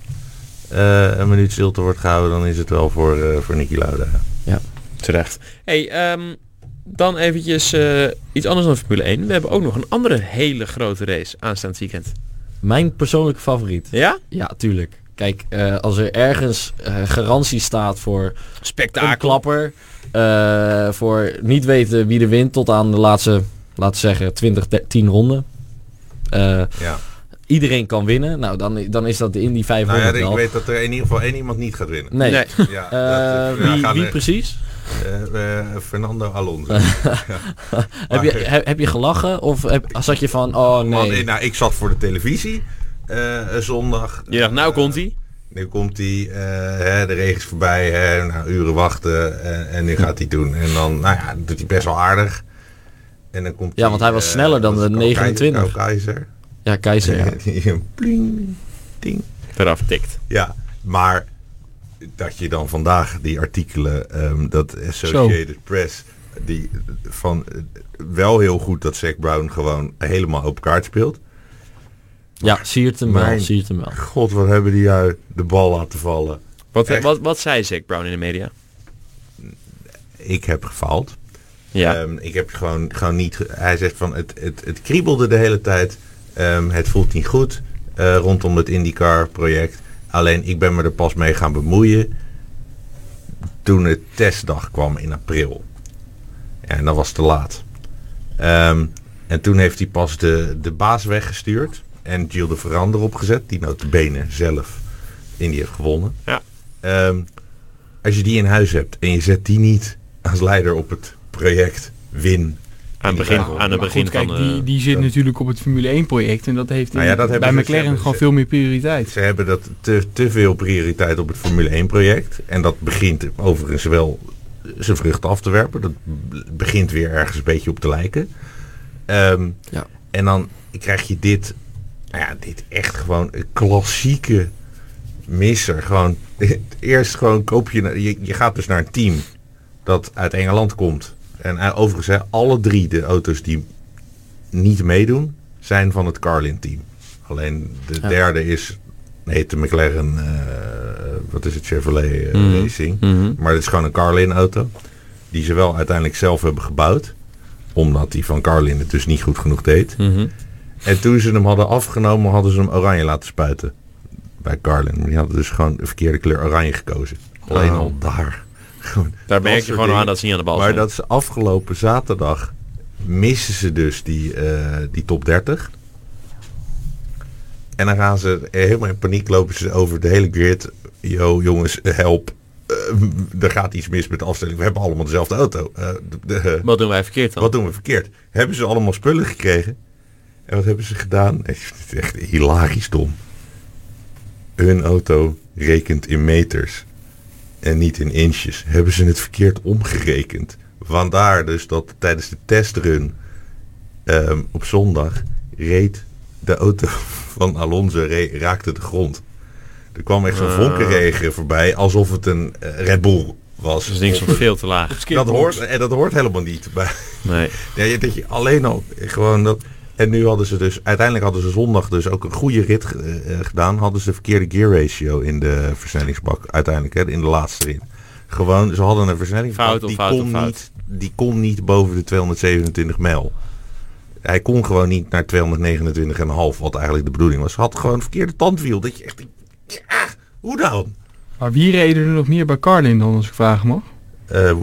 Speaker 4: eh, een minuut stilte wordt gehouden, dan is het wel voor, eh, voor Niki Lauda.
Speaker 1: Terecht. hey, ehm, dan eventjes eh, iets anders dan Formule 1. We hebben ook nog een andere hele grote race aanstaand weekend.
Speaker 2: Mijn persoonlijke favoriet.
Speaker 1: Ja?
Speaker 2: Ja, tuurlijk. Kijk, eh, als er ergens eh, garantie staat voor een
Speaker 1: Spektakel.
Speaker 2: klapper, eh, voor niet weten wie er wint tot aan de laatste, laten we zeggen, 20, 10 ronden. Eh,
Speaker 4: Ja.
Speaker 2: iedereen kan winnen. Nou, dan, dan is dat de Indy
Speaker 4: Nou
Speaker 2: 500
Speaker 4: ja, ik
Speaker 2: wel.
Speaker 4: weet dat er in ieder geval één iemand niet gaat winnen.
Speaker 2: Nee.
Speaker 1: Nee.
Speaker 4: Ja,
Speaker 2: Eh,
Speaker 4: dat, eh, ja,
Speaker 2: wie
Speaker 4: gaan
Speaker 2: wie Eh,
Speaker 4: we-
Speaker 2: precies?
Speaker 4: eh, eh, Fernando Alonso. Ah,
Speaker 2: Heb je, he- heb, je gelachen of heb, zat je van, oh
Speaker 4: Want, eh,
Speaker 2: nee.
Speaker 4: nou, ik zat voor de televisie eh, eh, zondag.
Speaker 1: Je dacht, nou komt hij.
Speaker 4: Nu komt hij, eh, hè, de regen is voorbij, hè, nou, uren wachten en, en nu gaat hij doen. En dan, nou ja, doet hij best wel aardig. En dan komt
Speaker 2: Ja, want hij was
Speaker 4: eh,
Speaker 2: sneller dan
Speaker 4: wat is
Speaker 2: de
Speaker 4: het, Kau-
Speaker 2: 29.
Speaker 4: Kau- Keizer.
Speaker 2: Ja, Keizer. ja.
Speaker 4: Die een pling, ding.
Speaker 1: Veraf tikt.
Speaker 4: Ja, maar dat je dan vandaag die artikelen, ehm, dat Associated Press, die van eh, wel heel goed dat Zac Brown gewoon helemaal op kaart speelt.
Speaker 2: Ja, zie het hem wel,
Speaker 4: Mijn-
Speaker 2: zie het hem wel.
Speaker 4: God, wat hebben die jou de bal laten vallen.
Speaker 1: Wat,
Speaker 4: Echt?
Speaker 1: Eh, wat, wat zei Zack Brown in de media?
Speaker 4: Ik heb gefaald.
Speaker 1: Ja.
Speaker 4: Ehm, ik heb gewoon, gewoon niet. ge- Hij zegt van het, het, het kriebelde de hele tijd. Ehm, het voelt niet goed eh, rondom het IndyCar project. Alleen ik ben me er pas mee gaan bemoeien. Toen het testdag kwam in april. Ja, en dat was te laat. Ehm, en toen heeft hij pas de, de baas weggestuurd. En Gilles de Verander opgezet. Die notabene zelf Indy heeft gewonnen.
Speaker 1: Ja.
Speaker 4: Ehm, als je die in huis hebt en je zet die niet als leider op het project win.
Speaker 1: aan het begin,
Speaker 4: Ja,
Speaker 1: aan het
Speaker 3: Maar
Speaker 1: begin
Speaker 3: goed, kijk,
Speaker 1: van...
Speaker 3: die,
Speaker 1: eh,
Speaker 3: die zit
Speaker 4: dat-
Speaker 3: natuurlijk op het Formule 1-project en dat heeft
Speaker 4: Nou ja,
Speaker 3: in-
Speaker 4: dat hebben
Speaker 3: bij
Speaker 4: ze-
Speaker 3: McLaren
Speaker 4: ze-
Speaker 3: gewoon
Speaker 4: ze-
Speaker 3: veel meer prioriteit.
Speaker 4: Ze hebben dat te, te veel prioriteit op het Formule 1 project. En dat begint overigens wel zijn vruchten af te werpen. Dat b- begint weer ergens een beetje op te lijken. Ehm,
Speaker 2: Ja.
Speaker 4: En dan krijg je dit, nou ja, dit echt gewoon een klassieke misser. Gewoon, eerst gewoon koop je, je, je gaat dus naar een team dat uit Engeland komt. En eh, overigens, hè, alle drie de auto's die niet meedoen, zijn van het Carlin-team. Alleen de
Speaker 2: Ja.
Speaker 4: derde is, heet de McLaren, eh, wat is het, Chevrolet eh,
Speaker 1: Mhm.
Speaker 4: Racing.
Speaker 1: mhm.
Speaker 4: Maar dit is gewoon een Carlin-auto, die ze wel uiteindelijk zelf hebben gebouwd. Omdat die van Carlin het dus niet goed genoeg deed.
Speaker 1: Mhm.
Speaker 4: En toen ze hem hadden afgenomen, hadden ze hem oranje laten spuiten. Bij Carlin. Maar die hadden dus gewoon de verkeerde kleur oranje gekozen. Alleen
Speaker 1: Ah.
Speaker 4: al daar.
Speaker 1: Daar merk je
Speaker 4: soort
Speaker 1: gewoon aan
Speaker 4: dingen.
Speaker 1: dat ze niet aan de bal
Speaker 4: Maar
Speaker 1: zijn.
Speaker 4: dat ze afgelopen zaterdag missen ze dus die, eh, die top 30. En dan gaan ze helemaal in paniek lopen ze over de hele grid. Yo jongens, help. Eh, er gaat iets mis met de afstelling. We hebben allemaal dezelfde auto. Eh, de- de- eh,
Speaker 1: Wat doen wij verkeerd dan?
Speaker 4: wat doen we verkeerd? Hebben ze allemaal spullen gekregen? En wat hebben ze gedaan? Ik vind het echt hilarisch dom. Hun auto rekent in meters en niet in inches. Hebben ze het verkeerd omgerekend? Vandaar dus dat tijdens de testrun ehm, op zondag reed de auto van Alonso re- raakte de grond. Er kwam echt zo'n
Speaker 1: Ah.
Speaker 4: vonkenregen voorbij alsof het een eh, Red Bull was.
Speaker 1: Dat is niks van veel te laag.
Speaker 4: dat, hoort, en dat hoort helemaal niet bij,
Speaker 1: Nee.
Speaker 4: ja, je- dat je alleen al gewoon dat. En nu hadden ze dus, uiteindelijk hadden ze zondag dus ook een goede rit ge- eh, gedaan. Hadden ze de verkeerde gear ratio in de versnellingsbak uiteindelijk, hè, in de laatste rit. Gewoon, ze hadden een versnellingsbak
Speaker 1: Fout op
Speaker 4: die,
Speaker 1: fout op
Speaker 4: kon
Speaker 1: fout.
Speaker 4: Niet, die kon niet boven de 227 mijl. Hij kon gewoon niet naar 229,5, wat eigenlijk de bedoeling was. Ze had gewoon een verkeerde tandwiel. Dat je echt, denkt, ja, hoe dan?
Speaker 3: Maar wie reden er nog meer bij Carlin dan, als ik vragen mag?
Speaker 4: Eh, eh,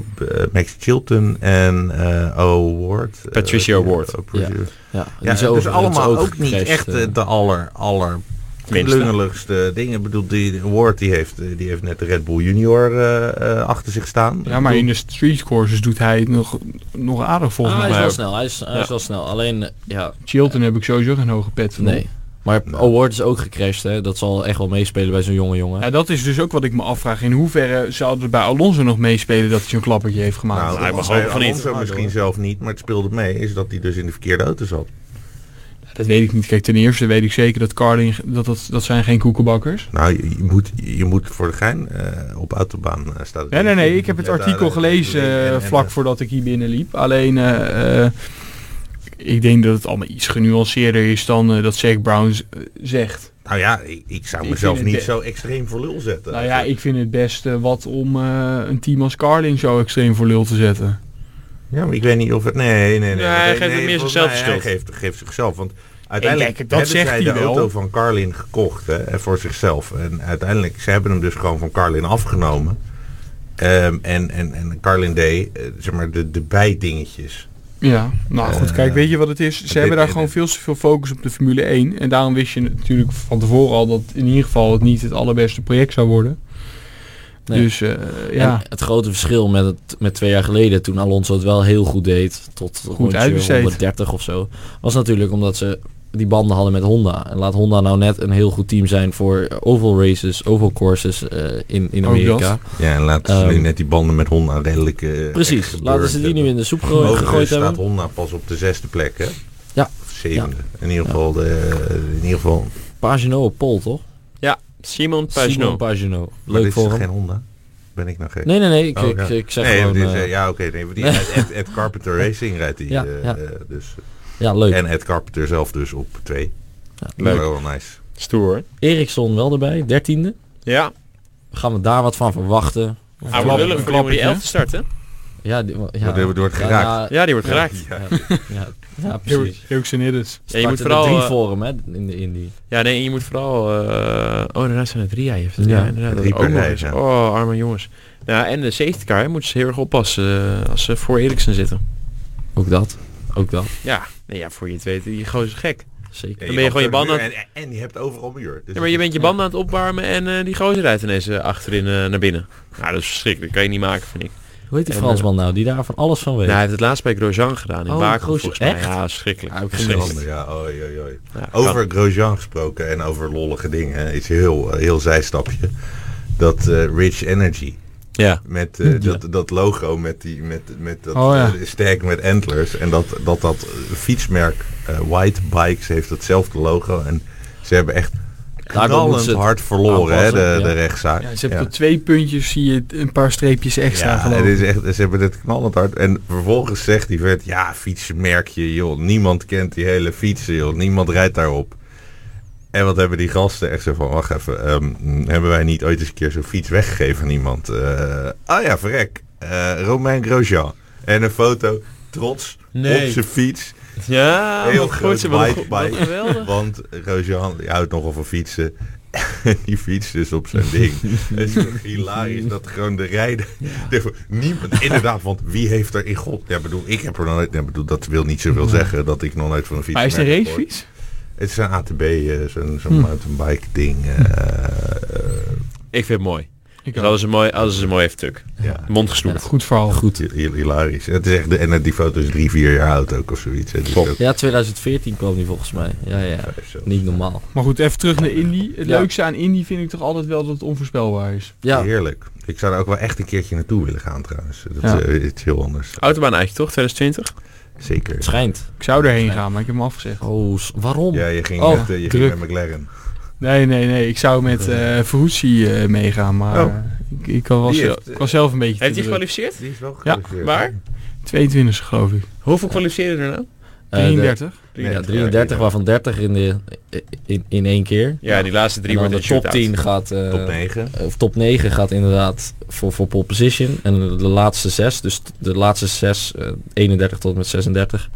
Speaker 4: Max Chilton en eh Award. eh,
Speaker 1: Patricia Ward.
Speaker 4: eh, Patricia-
Speaker 2: Ja. Ja, die
Speaker 4: Ja,
Speaker 2: is
Speaker 4: dus
Speaker 2: overigens
Speaker 4: allemaal ook, niet
Speaker 2: gecrashed,
Speaker 4: echt
Speaker 2: eh.
Speaker 4: eh, de aller, aller
Speaker 1: Minste.
Speaker 4: klungeligste dingen. Ik bedoel, die Ward die heeft, eh, die heeft net de Red Bull Junior eh, eh, achter zich staan.
Speaker 3: Ja, maar in de street courses doet hij het nog, nog aardig volgens
Speaker 2: Ah, hij
Speaker 3: mij.
Speaker 2: is wel
Speaker 1: ook.
Speaker 2: snel, hij is, hij
Speaker 1: Ja.
Speaker 2: is wel snel. Alleen, eh, ja,
Speaker 3: Chilton heb ik sowieso geen hoge pet van.
Speaker 2: nee. Maar
Speaker 4: Nee.
Speaker 2: Award is ook gecrashed, hè. Dat zal echt wel meespelen bij zo'n jonge jongen.
Speaker 3: Ja, dat is dus ook wat ik me afvraag. In hoeverre zou het bij Alonso nog meespelen dat hij zo'n klappertje heeft gemaakt?
Speaker 4: Nou,
Speaker 1: hij
Speaker 4: dat
Speaker 1: mag
Speaker 4: zei
Speaker 1: hopen van niet.
Speaker 3: Ah,
Speaker 4: Alonso misschien
Speaker 2: Door.
Speaker 4: zelf niet, maar het speelde mee, is dat hij dus in de verkeerde auto zat.
Speaker 3: dat weet ik niet. Kijk, ten eerste weet ik zeker dat Carlin, dat, dat, dat zijn geen koekenbakkers.
Speaker 4: Nou, je, je moet, je moet voor de gein eh, op autobaan eh, staan.
Speaker 3: Nee, nee, nee. Ik heb het
Speaker 4: Ja, daar-
Speaker 3: artikel
Speaker 4: daar-
Speaker 3: gelezen
Speaker 4: en- en-
Speaker 3: eh, vlak voordat ik hier binnenliep. Alleen, eh, eh, ik denk dat het allemaal iets genuanceerder is dan eh, dat Zach Brown z- eh, zegt.
Speaker 4: Nou ja, ik, ik zou
Speaker 3: Ik
Speaker 4: mezelf
Speaker 3: vind het
Speaker 4: niet
Speaker 3: be-
Speaker 4: zo extreem voor lul zetten.
Speaker 3: nou ja, ik vind het best eh, wat om eh, een team als Carlin zo extreem voor lul te zetten.
Speaker 4: Ja, maar ik weet niet of het... Nee, nee, nee.
Speaker 1: Nee, hij
Speaker 4: Nee,
Speaker 1: geeft het
Speaker 4: nee,
Speaker 1: meer
Speaker 4: volgens
Speaker 1: zichzelf
Speaker 4: mij,
Speaker 1: de
Speaker 4: Hij
Speaker 1: schuld.
Speaker 4: geeft, geeft zichzelf. Want uiteindelijk
Speaker 3: kijk, dat
Speaker 4: hebben
Speaker 3: zegt
Speaker 4: zij
Speaker 3: hij
Speaker 4: de
Speaker 3: wel.
Speaker 4: auto van Carlin gekocht hè, voor zichzelf. En uiteindelijk, ze hebben hem dus gewoon van Carlin afgenomen. Ehm, en, en, en Carlin deed, eh, zeg maar, de, de bijdingetjes.
Speaker 3: Ja, nou goed,
Speaker 4: Eh,
Speaker 3: kijk, weet je wat het is? Ze hebben daar
Speaker 4: dit-
Speaker 3: gewoon veel te veel focus op de Formule 1. En daarom wist je natuurlijk van tevoren al dat in ieder geval het niet het allerbeste project zou worden.
Speaker 2: Nee.
Speaker 3: Dus eh,
Speaker 2: Ja.
Speaker 3: ja,
Speaker 2: het grote verschil met, het, met twee jaar geleden, toen Alonso het wel heel goed deed, tot rondje
Speaker 3: uitbesteed.
Speaker 2: 130 of zo, was natuurlijk omdat ze die banden hadden met Honda. En laat Honda nou net een heel goed team zijn voor oval races, oval courses eh, in, in
Speaker 3: Ook
Speaker 2: Amerika.
Speaker 4: Ja, en laten ze
Speaker 2: Ehm,
Speaker 4: nu net die banden met Honda redelijk... eh,
Speaker 2: Precies,
Speaker 4: echt
Speaker 2: laten ze die nu in de soep gegooid,
Speaker 4: Overigens
Speaker 2: gegooid
Speaker 4: staat
Speaker 2: hebben.
Speaker 4: Honda pas op de zesde plek, hè?
Speaker 2: Ja.
Speaker 4: Of zevende. In ieder geval, de, in ieder geval.
Speaker 2: Pagino op pol, toch?
Speaker 1: Simon Pagenaud.
Speaker 2: Simon Pagino.
Speaker 4: maar
Speaker 2: Leuk
Speaker 4: dit is
Speaker 2: voor
Speaker 4: toch
Speaker 2: hem.
Speaker 4: geen Honda? Ben ik nou gek?
Speaker 2: Nee, nee, nee, ik,
Speaker 4: Oh,
Speaker 2: ik,
Speaker 4: ja.
Speaker 2: ik zeg
Speaker 4: nee,
Speaker 2: gewoon...
Speaker 4: dit is,
Speaker 2: eh,
Speaker 4: eh, ja, oké. nee, maar die
Speaker 2: Nee.
Speaker 4: rijdt Ed, Ed Carpenter Racing rijdt die.
Speaker 2: Ja,
Speaker 4: eh,
Speaker 2: ja.
Speaker 4: eh, dus.
Speaker 2: ja, leuk.
Speaker 4: En Ed Carpenter zelf dus op twee.
Speaker 1: Leuk.
Speaker 4: Wel nice.
Speaker 1: Stoer. hè?
Speaker 2: Eriksson wel erbij, dertiende.
Speaker 1: Ja.
Speaker 2: Gaan we daar wat van verwachten?
Speaker 1: Hij
Speaker 3: klap-
Speaker 1: wordt lullig
Speaker 3: een
Speaker 1: voor die om die
Speaker 3: klappertje.
Speaker 1: 11 te starten.
Speaker 2: Ja, die- ja.
Speaker 4: Wordt- wordt
Speaker 2: Ja,
Speaker 4: geraakt.
Speaker 2: ja,
Speaker 1: Ja, die wordt geraakt.
Speaker 4: Ja.
Speaker 2: Ja, ja, ja, precies.
Speaker 3: Jokes en Hiddens.
Speaker 1: Ja, je moet
Speaker 2: Starten
Speaker 1: vooral,
Speaker 2: de drie
Speaker 1: eh,
Speaker 2: forum, hè, in de Indie.
Speaker 1: Ja, nee, je moet vooral... eh, Oh, inderdaad zijn er drie. Ja, je hebt het,
Speaker 2: Ja,
Speaker 1: ja, inderdaad. Dat
Speaker 4: drie
Speaker 1: is
Speaker 4: per
Speaker 1: ook nog
Speaker 4: rij,
Speaker 1: eens.
Speaker 4: ja.
Speaker 1: Oh, arme jongens. Nou, en de safety car hè, moeten ze heel erg oppassen eh, als ze voor Eriksen zitten.
Speaker 2: Ook dat. Ook dat.
Speaker 1: Ja, nee, ja voor je het weet, die gozer is gek.
Speaker 2: Zeker.
Speaker 1: je gewoon je
Speaker 4: hebt
Speaker 1: banden-
Speaker 4: een muur En, en je hebt overal muur. Dus
Speaker 1: Ja, maar je bent je banden aan het opwarmen en eh, die gozer rijdt ineens eh, achterin eh, naar binnen. Nou, dat is verschrikkelijk. Dat kan je niet maken, vind ik.
Speaker 2: Hoe heet die
Speaker 1: En,
Speaker 2: Fransman nou, die daar van alles van weet?
Speaker 1: Nou, hij heeft het laatst bij Grosjean gedaan in
Speaker 2: Oh,
Speaker 1: Baku
Speaker 2: Grosjean,
Speaker 1: volgens mij.
Speaker 2: echt?
Speaker 1: Ja, verschrikkelijk.
Speaker 2: Ja, ik vind het
Speaker 1: verschrikkelijk.
Speaker 4: Schande, Ja, oi, oi, oi.
Speaker 1: Ja, kan.
Speaker 4: Over Grosjean gesproken en over lollige dingen. hè, Iets heel, eh, heel zijstapje. Dat eh, Rich Energy.
Speaker 1: Ja.
Speaker 4: Met eh,
Speaker 2: Ja.
Speaker 4: dat, dat logo, met, die, met, met dat
Speaker 3: Oh, ja.
Speaker 4: eh, sterk met antlers. En dat dat, dat eh, fietsmerk eh, White Bikes heeft datzelfde logo. En ze hebben echt
Speaker 2: moeten
Speaker 4: knallend
Speaker 2: ze het
Speaker 4: hard verloren, hè, de,
Speaker 2: aanpassen, ja.
Speaker 4: de rechtszaak.
Speaker 3: Ja, ze hebben tot twee puntjes zie je een paar streepjes extra
Speaker 4: Ja,
Speaker 3: geloof
Speaker 4: het
Speaker 3: ik.
Speaker 4: is echt, ze hebben dit knallend hard. En vervolgens zegt die vet, ja, fietsenmerkje, joh. Niemand kent die hele fietsen, joh. Niemand rijdt daarop. En wat hebben die gasten echt zo van, wacht even. ehm, hebben wij niet ooit eens een keer zo'n fiets weggegeven aan iemand? Eh, ah ja, verrek. Eh Romain Grosjean. En een foto, trots, op zijn fiets.
Speaker 1: Ja,
Speaker 4: Heel
Speaker 1: wat
Speaker 4: groot
Speaker 1: ze hebben
Speaker 4: white
Speaker 1: een go- wat
Speaker 4: bike.
Speaker 1: geweldig.
Speaker 4: Want Grosjean die houdt nogal van fietsen. En die fietst dus op zijn ding. Het is toch hilarisch dat gewoon de rijden. Niemand, inderdaad, want wie heeft er in God? Ja, bedoel, ik heb er nog nooit. Ja, bedoel, dat wil niet zoveel zeggen dat ik nog nooit van een fiets.
Speaker 3: Maar is het
Speaker 4: merk
Speaker 3: een
Speaker 4: heb
Speaker 3: racefiets?
Speaker 4: gehoord. Het is een ATB, eh, zo'n zo'n
Speaker 3: Hmm.
Speaker 4: mountainbike ding. eh,
Speaker 1: Ik vind het mooi.
Speaker 3: Ik
Speaker 1: Dat is een mooi, dat is een mooi even tuk.
Speaker 4: ja,
Speaker 1: Mond gesnoerd.
Speaker 3: Goed verhaal.
Speaker 2: Oh, Goed.
Speaker 4: hi- hi- hilarisch. Het is echt de, en eh, die foto is drie, vier jaar oud ook of zoiets. hè. Dus
Speaker 1: Top.
Speaker 4: dat
Speaker 2: Ja, 2014 kwam die volgens mij. Ja, ja.
Speaker 4: is zo.
Speaker 2: Niet normaal.
Speaker 3: Maar goed, even terug naar Indy. Het
Speaker 2: Ja.
Speaker 3: leukste aan Indy vind ik toch altijd wel dat het onvoorspelbaar is.
Speaker 2: Ja,
Speaker 4: Heerlijk. Ik zou er ook wel echt een keertje naartoe willen gaan trouwens. Dat
Speaker 3: Ja.
Speaker 4: eh, is heel anders.
Speaker 1: Autobaan eigenlijk toch? 2020?
Speaker 2: het
Speaker 4: Zeker.
Speaker 2: schijnt.
Speaker 3: Ik zou erheen gaan, maar ik heb hem afgezegd.
Speaker 2: Oh, s- waarom?
Speaker 4: Ja, je ging,
Speaker 3: Oh,
Speaker 4: met, eh, je
Speaker 3: druk.
Speaker 4: ging met McLaren.
Speaker 3: Nee, nee, nee. Ik zou met eh Ferrucci eh, meegaan, maar
Speaker 4: Oh.
Speaker 3: ik, ik, was,
Speaker 4: Die heeft,
Speaker 3: ik was zelf een beetje te
Speaker 1: Heeft hij
Speaker 3: druk.
Speaker 1: gekwalificeerd?
Speaker 4: Die is wel
Speaker 3: Ja,
Speaker 4: gekwalificeerd.
Speaker 1: waar?
Speaker 3: 22 geloof ik.
Speaker 1: Hoeveel kwalificeerden er nou?
Speaker 2: Eh, de-
Speaker 3: 33.
Speaker 2: ja, 33, waarvan 30 in, de, in, in één keer.
Speaker 1: Ja, die laatste drie
Speaker 2: En dan
Speaker 1: worden
Speaker 2: de top 10 gaat... eh,
Speaker 4: Top 9.
Speaker 2: of top 9 gaat inderdaad voor, voor pole position. En de de laatste 6, dus t- de laatste 6, 31 tot en met 36,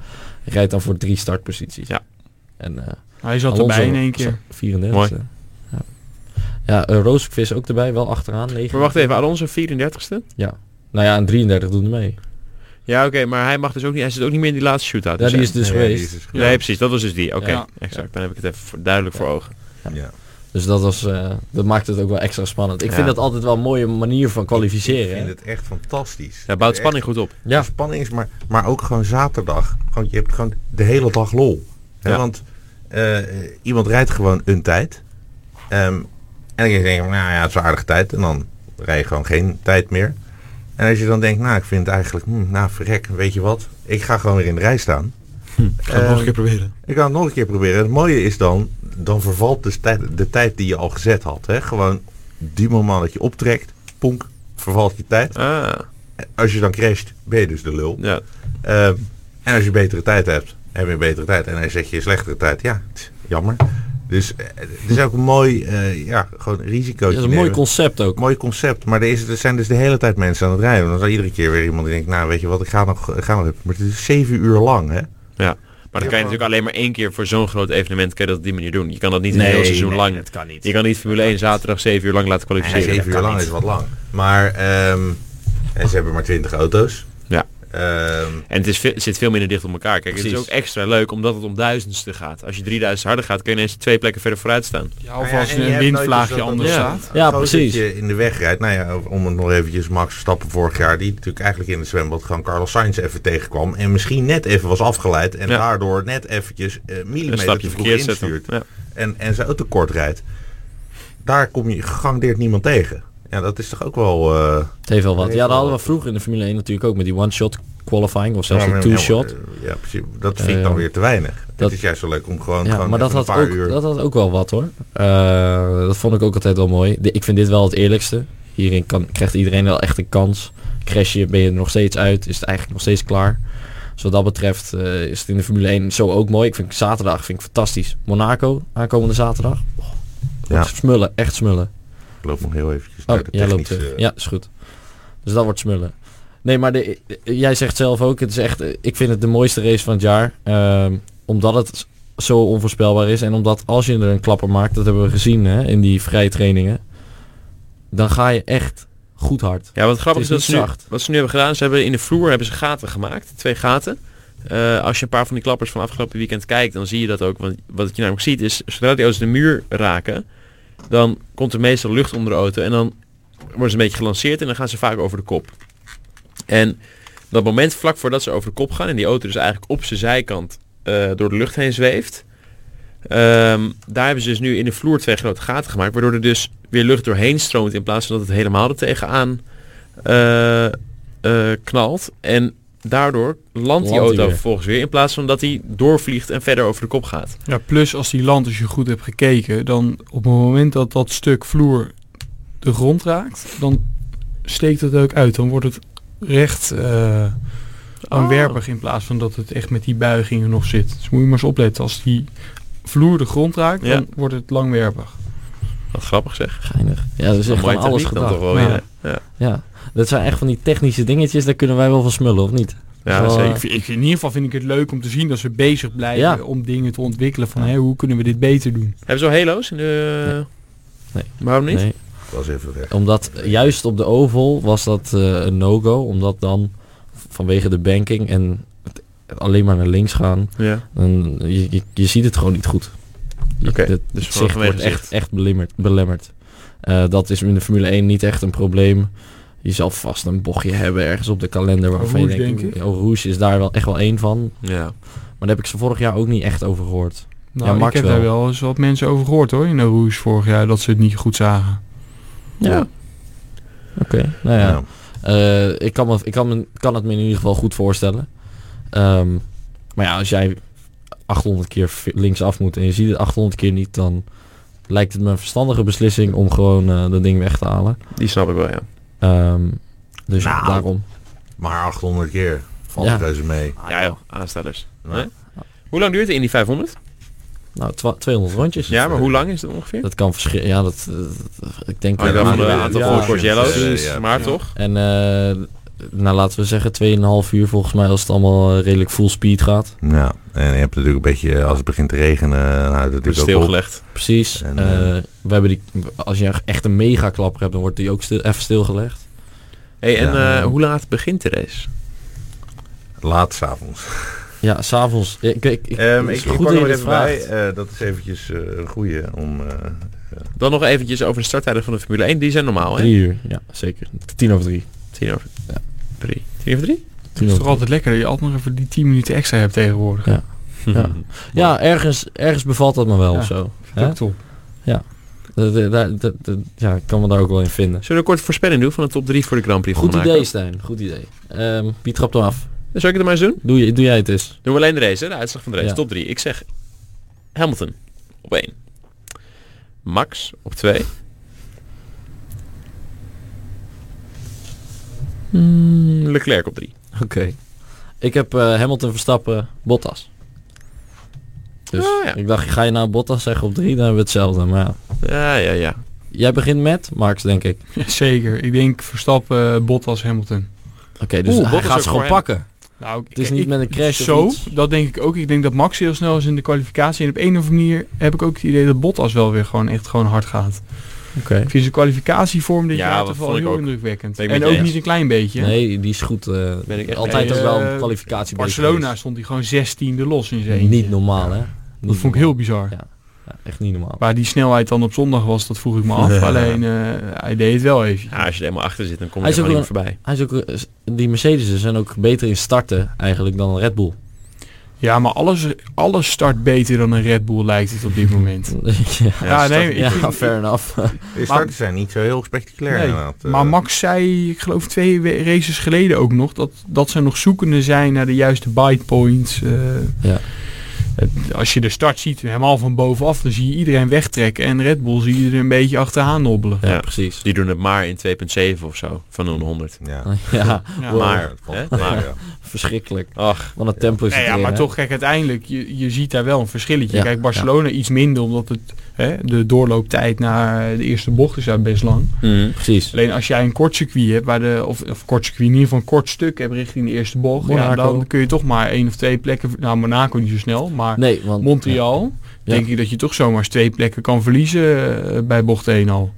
Speaker 2: rijdt dan voor drie startposities.
Speaker 1: Ja.
Speaker 2: En eh
Speaker 3: Hij zat
Speaker 2: Alonso
Speaker 3: erbij in één keer.
Speaker 2: 34.
Speaker 1: Mooi.
Speaker 2: Ja, ja eh, Rozenqvist ook erbij, wel achteraan. 9.
Speaker 1: Maar wacht even, Alonso 34ste?
Speaker 2: Nou ja, en 33 doen er mee.
Speaker 1: Ja, oké, maar hij mag dus ook niet, hij zit ook niet meer in die laatste shootout.
Speaker 2: Ja,
Speaker 1: dus
Speaker 2: die
Speaker 1: hij-
Speaker 2: is dus
Speaker 4: Ja, die
Speaker 2: geweest.
Speaker 4: is dus
Speaker 1: Nee, precies, dat was dus die. Oké,
Speaker 3: Ja.
Speaker 1: exact. Dan heb ik het even voor- duidelijk
Speaker 2: Ja.
Speaker 1: voor ogen.
Speaker 4: Ja.
Speaker 2: Dus dat, was, eh, dat maakt het ook wel extra spannend. Ik
Speaker 1: Ja.
Speaker 2: vind dat altijd wel een mooie manier van
Speaker 4: Ik
Speaker 2: kwalificeren.
Speaker 4: vind
Speaker 2: hè.
Speaker 4: het echt fantastisch.
Speaker 1: Ja, bouwt
Speaker 4: Echt,
Speaker 1: spanning goed op.
Speaker 2: Ja.
Speaker 4: de Spanning is maar, maar ook gewoon zaterdag. Gewoon, je hebt gewoon de hele dag lol. Hè,
Speaker 1: Ja.
Speaker 4: Want eh, iemand rijdt gewoon een tijd. Ehm, en dan denk je, nou ja, het is een aardige tijd. En dan rij je gewoon geen tijd meer. En als je dan denkt, nou, ik vind het eigenlijk, hm, nou, verrek, weet je wat? Ik ga gewoon weer in de rij staan.
Speaker 5: Ik ga het nog
Speaker 4: Ehm,
Speaker 5: een keer proberen.
Speaker 4: Ik ga het nog een keer proberen. Het mooie is dan, dan vervalt dus tijd, de tijd die je al gezet had. Hè? Gewoon die moment dat je optrekt, ponk, vervalt je tijd.
Speaker 1: Ah,
Speaker 4: Als je dan crasht, ben je dus de lul.
Speaker 1: ja.
Speaker 4: Ehm, en als je betere tijd hebt, heb je een betere tijd. En hij zet je een slechtere tijd. Ja, tch, jammer. Dus eh, het is ook een mooi eh, ja, gewoon een risico.
Speaker 2: Dat is een mooi concept ook.
Speaker 4: Mooi concept, maar er, is, er zijn dus de hele tijd mensen aan het rijden. Dan is er iedere keer weer iemand die denkt, nou weet je wat, ik ga nog, ik ga nog even. Maar het is zeven uur lang, hè?
Speaker 1: Maar dan kan je natuurlijk alleen maar één keer voor zo'n groot evenement kan je dat op die manier doen. Je kan dat niet een heel seizoen
Speaker 5: nee,
Speaker 1: lang.
Speaker 5: dat kan niet.
Speaker 1: Je kan niet Formule 1 zaterdag 7 uur lang laten kwalificeren.
Speaker 4: zeven uur
Speaker 5: kan
Speaker 4: lang
Speaker 5: niet.
Speaker 4: is wat lang. Maar ehm, en ze hebben maar twintig auto's.
Speaker 1: Ja.
Speaker 4: Ehm,
Speaker 1: En het, is, ve- het zit veel minder dicht op elkaar. Kijk, het
Speaker 2: Precies.
Speaker 1: is ook extra leuk omdat het om duizendste gaat. Als je 3000 harder gaat, kun je ineens twee plekken verder vooruit staan.
Speaker 3: Ja,
Speaker 4: nou
Speaker 3: of
Speaker 4: ja,
Speaker 3: als
Speaker 4: en
Speaker 3: een
Speaker 4: hebt nooit
Speaker 3: windvlaagje
Speaker 4: eens dat
Speaker 3: anders
Speaker 4: dat
Speaker 3: staat.
Speaker 4: een
Speaker 2: Ja,
Speaker 4: gozer
Speaker 2: precies.
Speaker 4: je in de weg rijdt. Nou ja, om het nog eventjes Max Verstappen vorig jaar, die natuurlijk eigenlijk in het zwembad gewoon Carlos Sainz even tegenkwam. En misschien net even was afgeleid. En
Speaker 1: Ja.
Speaker 4: daardoor net eventjes eh
Speaker 1: Een
Speaker 4: millimeter
Speaker 1: stapje
Speaker 4: te vroeg
Speaker 1: verkeerd zetten.
Speaker 4: instuurt.
Speaker 1: Ja.
Speaker 4: En, en zijn auto kort rijdt. Daar kom je gegarandeerd niemand tegen. Ja, dat is toch ook wel... eh,
Speaker 2: Het heeft wel wat.
Speaker 4: Heeft
Speaker 2: Ja, dat
Speaker 4: wel
Speaker 2: hadden we
Speaker 4: wat.
Speaker 2: vroeger in de Formule 1 natuurlijk ook met die one-shot qualifying of zelfs
Speaker 4: Ja,
Speaker 2: een
Speaker 4: maar-
Speaker 2: two-shot.
Speaker 4: Ja, maar, eh, ja, precies. Dat vind ik dan
Speaker 2: Eh,
Speaker 4: weer te weinig. Dat
Speaker 2: dat-
Speaker 4: is juist zo leuk om gewoon,
Speaker 2: Ja,
Speaker 4: gewoon
Speaker 2: maar dat
Speaker 4: even
Speaker 2: had,
Speaker 4: een paar
Speaker 2: ook,
Speaker 4: uur...
Speaker 2: dat had ook wel wat hoor. Eh, dat vond ik ook altijd wel mooi. De- ik vind dit wel het eerlijkste. Hierin kan, krijgt iedereen wel echt een kans. Crash je, ben je er nog steeds uit. Is het eigenlijk nog steeds klaar. Dus wat dat betreft eh, is het in de Formule 1 zo ook mooi. Ik vind zaterdag vind ik fantastisch. Monaco, aankomende zaterdag. Oh,
Speaker 4: Ja.
Speaker 2: wordt Smullen, echt smullen.
Speaker 4: Ik loop nog heel eventjes
Speaker 2: Oh,
Speaker 4: naar de
Speaker 2: jij loopt
Speaker 4: technische...
Speaker 1: eh,
Speaker 2: terug. Ja, is goed. Dus dat wordt smullen. Nee, maar de, jij zegt zelf ook, het is echt, eh, ik vind het de mooiste race van het jaar. ehm, omdat het zo onvoorspelbaar is. En omdat als je er een klapper maakt, dat hebben we gezien hè, in die vrije trainingen. Dan ga je echt goed hard.
Speaker 1: Ja, wat grappig is,
Speaker 2: Het
Speaker 1: dat
Speaker 2: is
Speaker 1: ze
Speaker 2: niet
Speaker 1: nu,
Speaker 2: zacht.
Speaker 1: wat ze nu hebben gedaan, ze hebben in de vloer hebben ze gaten gemaakt, twee gaten. Eh, als je een paar van die klappers van afgelopen weekend kijkt, dan zie je dat ook. Want wat je namelijk ziet is, zodra die auto's de muur raken, dan komt er meestal lucht onder de auto en dan worden ze een beetje gelanceerd en dan gaan ze vaak over de kop. En dat moment vlak voordat ze over de kop gaan en die auto dus eigenlijk op zijn zijkant eh, door de lucht heen zweeft, ehm, daar hebben ze dus nu in de vloer twee grote gaten gemaakt, waardoor er dus weer lucht doorheen stroomt in plaats van dat het helemaal er tegenaan eh, eh, knalt. En daardoor landt die
Speaker 2: hij
Speaker 1: auto
Speaker 2: weer.
Speaker 1: vervolgens weer in plaats van dat hij doorvliegt en verder over de kop gaat.
Speaker 3: Ja, plus als die land, als je goed hebt gekeken, dan op het moment dat dat stuk vloer de grond raakt, dan steekt het ook uit. Dan wordt het recht
Speaker 2: Oh.
Speaker 3: eh aanwerpig in plaats van dat het echt met die buigingen nog zit. Dus moet je maar eens opletten. Als die vloer de grond raakt,
Speaker 1: Ja.
Speaker 3: dan wordt het langwerpig.
Speaker 1: Wat grappig zeg.
Speaker 2: Geinig. Ja, dat is echt
Speaker 1: Mooie
Speaker 2: van alles
Speaker 1: techniek dan
Speaker 2: gedaan.
Speaker 1: toch wel,
Speaker 3: Ja.
Speaker 1: ja. Ja,
Speaker 2: Ja, dat zijn echt van die technische dingetjes. Daar kunnen wij wel van smullen, of niet?
Speaker 1: ja,
Speaker 2: Wel, eh,
Speaker 1: zeker.
Speaker 3: Ik vind, ik- in ieder geval vind ik het leuk om te zien dat ze bezig blijven
Speaker 2: Ja.
Speaker 3: om dingen te ontwikkelen. Van hé, hoe kunnen we dit beter doen?
Speaker 1: Hebben ze al Halo's in de...
Speaker 2: Nee.
Speaker 1: Waarom niet?
Speaker 2: Nee.
Speaker 4: was even weg.
Speaker 2: Omdat juist op de oval was dat eh, een no-go. Omdat dan vanwege de banking en het alleen maar naar links gaan.
Speaker 1: Ja.
Speaker 2: Dan, je, je, je ziet het gewoon niet goed. Je-
Speaker 1: Oké,
Speaker 2: het
Speaker 1: dus
Speaker 2: zicht
Speaker 1: vanwege
Speaker 2: wordt echt,
Speaker 1: zicht.
Speaker 2: echt belemmerd. belemmerd. Eh, dat is in de Formule 1 niet echt een probleem. Je zal vast een bochtje hebben ergens op de kalender waarvan
Speaker 3: Rouge,
Speaker 2: je denkt...
Speaker 3: denk
Speaker 2: Oh, Rouge is daar wel echt wel één van.
Speaker 1: Ja.
Speaker 2: Maar daar heb ik ze vorig jaar ook niet echt over gehoord.
Speaker 3: Nou,
Speaker 2: Ja,
Speaker 3: ik
Speaker 2: Max
Speaker 3: heb
Speaker 2: wel.
Speaker 3: daar wel eens wat mensen over gehoord hoor, in de Rouge vorig jaar, dat ze het niet goed zagen.
Speaker 1: Ja.
Speaker 2: Oké, nou ja.
Speaker 4: Ja.
Speaker 2: Eh, ik kan, me, ik kan, me, kan het me in ieder geval goed voorstellen. Ehm, maar ja, als jij 800 keer fi- linksaf moet en je ziet het 800 keer niet, dan lijkt het me een verstandige beslissing om gewoon eh, dat ding weg te halen.
Speaker 1: Die snap ik wel, ja.
Speaker 2: Ehm, dus ja,
Speaker 4: Nou.
Speaker 2: daarom.
Speaker 4: Maar 800 keer valt
Speaker 2: Ja.
Speaker 4: reuze mee.
Speaker 1: Ah, Ja joh, aanstellers.
Speaker 4: Nou,
Speaker 1: Nee? Hoe lang duurt de Indy 500?
Speaker 2: Nou, twa- 200 rondjes.
Speaker 1: Ja, maar hoe lang is het ongeveer?
Speaker 2: Dat kan verschillen. Ja, dat, dat- ik denk...
Speaker 1: Oh, ja,
Speaker 4: dat
Speaker 2: eh,
Speaker 1: van
Speaker 4: moet
Speaker 1: een
Speaker 4: je-
Speaker 1: aantal
Speaker 4: ja,
Speaker 1: voor
Speaker 4: precies.
Speaker 1: Corgello's,
Speaker 4: Eh, ja,
Speaker 1: maar
Speaker 3: ja.
Speaker 1: toch?
Speaker 2: en eh, nou, laten we zeggen 2,5 uur volgens mij als het allemaal eh, redelijk full speed gaat.
Speaker 4: Ja, en je hebt natuurlijk een beetje, eh, als het begint te regenen, eh, dan houdt het
Speaker 1: Wordt
Speaker 4: natuurlijk ook op.
Speaker 1: stilgelegd.
Speaker 2: Precies.
Speaker 4: En,
Speaker 2: Eh, we hebben die, als je echt een mega klapper hebt, dan wordt die ook stil, even stilgelegd.
Speaker 1: Hey, en
Speaker 4: Ja.
Speaker 1: eh, hoe laat begint de race?
Speaker 4: Laat s'avonds.
Speaker 2: Ja, s'avonds. Ja, Ik, ik, ik,
Speaker 4: Ehm
Speaker 2: het
Speaker 4: ik
Speaker 2: is
Speaker 4: ik
Speaker 2: goed
Speaker 4: pak
Speaker 2: dat
Speaker 4: er
Speaker 2: je dit
Speaker 4: weer even
Speaker 2: vraagt.
Speaker 4: bij. Eh, dat is eventjes eh, een goede om... eh,
Speaker 1: Dan nog eventjes over de starttijden van de Formule 1. Die zijn normaal, hè?
Speaker 2: Drie uur, ja, zeker. Tien over drie.
Speaker 1: Tien over
Speaker 2: Ja.
Speaker 1: drie. Tien over drie?
Speaker 2: Tien
Speaker 3: Het is
Speaker 2: over
Speaker 3: toch altijd lekker dat je altijd nog even die 10 minuten extra hebt tegenwoordig.
Speaker 2: Ja. Ja. drie. Ja, ergens, ergens bevalt dat me wel
Speaker 3: Ja.
Speaker 2: of zo.
Speaker 3: Dat is
Speaker 2: Hè?
Speaker 3: ook top.
Speaker 2: Dat- dat- dat- dat- dat- ja, ik kan me daar ook wel in vinden.
Speaker 1: Zullen we een korte voorspelling doen van de top 3 voor de Grand Prix van
Speaker 2: Goed
Speaker 1: Monaco?
Speaker 2: idee, Stijn. Goed idee. Ehm, wie trapt hem af?
Speaker 1: Zal ik het maar eens doen?
Speaker 2: Doe, je, doe jij het eens.
Speaker 1: Doen we alleen de race, hè? De uitslag van de race.
Speaker 2: Ja.
Speaker 1: Top 3. Ik zeg Hamilton op 1. Max op 2. Leclerc op 3. Hmm,
Speaker 2: Oké. Ik heb eh, Hamilton Verstappen Bottas. Dus
Speaker 1: Ah, ja.
Speaker 2: ik dacht, ga je nou Bottas zeggen op drie, dan hebben we hetzelfde. Maar ja.
Speaker 1: Ja, ja, ja.
Speaker 2: jij begint met Max, denk ik.
Speaker 3: Zeker. Ik denk Verstappen, eh, Bottas, Hamilton.
Speaker 2: Oké, dus
Speaker 1: Oeh,
Speaker 2: hij
Speaker 1: Bottas
Speaker 2: gaat
Speaker 1: ook
Speaker 2: ze gewoon
Speaker 1: voor hem.
Speaker 2: pakken.
Speaker 3: Nou, ik-
Speaker 2: Het is
Speaker 3: ik-
Speaker 2: niet met een crash of
Speaker 3: Zo,
Speaker 2: iets.
Speaker 3: dat denk ik ook. Ik denk dat Max heel snel is in de kwalificatie. En op een of andere manier heb ik ook het idee dat Bottas wel weer gewoon echt gewoon hard gaat.
Speaker 2: Oké.
Speaker 3: Ik vind zijn kwalificatievorm dit
Speaker 1: Ja,
Speaker 3: jaar
Speaker 1: dat
Speaker 3: toch wel
Speaker 1: vond ik
Speaker 3: heel
Speaker 1: ook.
Speaker 3: indrukwekkend.
Speaker 1: Ben ik
Speaker 3: En
Speaker 1: met
Speaker 3: ook
Speaker 1: je eens.
Speaker 3: niet een klein beetje.
Speaker 2: Nee, die is goed. eh,
Speaker 1: Ben ik echt
Speaker 2: altijd
Speaker 3: mee.
Speaker 2: toch wel een
Speaker 3: Eh,
Speaker 2: kwalificatie bezig
Speaker 3: Barcelona stond hij gewoon 16e los in zijn
Speaker 2: geweest.
Speaker 3: eentje.
Speaker 2: Niet normaal, hè?
Speaker 3: Dat vond ik heel bizar.
Speaker 2: Ja. echt niet normaal.
Speaker 3: Waar die snelheid dan op zondag was, dat vroeg ik me af. Alleen, eh, hij deed het wel even.
Speaker 1: Ja, als je er helemaal achter zit, dan kom je
Speaker 2: Hij
Speaker 1: er
Speaker 2: is
Speaker 1: gewoon niet
Speaker 2: ook
Speaker 1: meer voorbij.
Speaker 2: Hij is ook, eh, s- die Mercedes zijn ook beter in starten eigenlijk dan Red Bull.
Speaker 3: Ja, maar alles, alles start beter dan een Red Bull lijkt het op dit moment.
Speaker 2: ja,
Speaker 3: Ja, nee,
Speaker 4: start-
Speaker 3: ik vind-
Speaker 2: ja, fair enough.
Speaker 4: De starten zijn niet zo heel spectaculair
Speaker 3: Nee,
Speaker 4: inderdaad. Eh,
Speaker 3: Maar Max zei, ik geloof twee we- races geleden ook nog, dat, dat ze nog zoekende zijn naar de juiste bite points. eh.
Speaker 2: Ja.
Speaker 3: Het- als je de start ziet, helemaal van bovenaf, dan zie je iedereen wegtrekken. En Red Bull zie je er een beetje achteraan nobbelen.
Speaker 2: ja,
Speaker 1: Ja.
Speaker 2: precies.
Speaker 1: Die doen het maar in 2.7 of zo, van een 100.
Speaker 4: Ja,
Speaker 2: Ja,
Speaker 3: Ja.
Speaker 2: wow,
Speaker 1: Maar,
Speaker 4: het valt
Speaker 1: hè?
Speaker 4: tegen,
Speaker 2: Maar.
Speaker 4: ja.
Speaker 2: verschrikkelijk.
Speaker 1: Ach,
Speaker 2: Wat een tempo is het
Speaker 3: Nou ja,
Speaker 2: erin,
Speaker 3: maar
Speaker 2: hè?
Speaker 3: toch, kijk, uiteindelijk, je, je ziet daar wel een verschilletje.
Speaker 2: Ja,
Speaker 3: kijk, Barcelona iets minder, omdat het, hè, de doorlooptijd naar de eerste bocht is daar best lang.
Speaker 2: Mm. Precies.
Speaker 3: Alleen als jij een kort circuit hebt, waar de, of, of kort circuit, in ieder geval een kort stuk hebt richting de eerste bocht, ja,
Speaker 2: Monaco.
Speaker 3: dan kun je toch maar één of twee plekken, nou Monaco niet zo snel, maar
Speaker 2: Nee, want...
Speaker 3: Montreal,
Speaker 2: Ja.
Speaker 3: denk ik dat je toch zomaar eens twee plekken kan verliezen eh, bij bocht 1 al.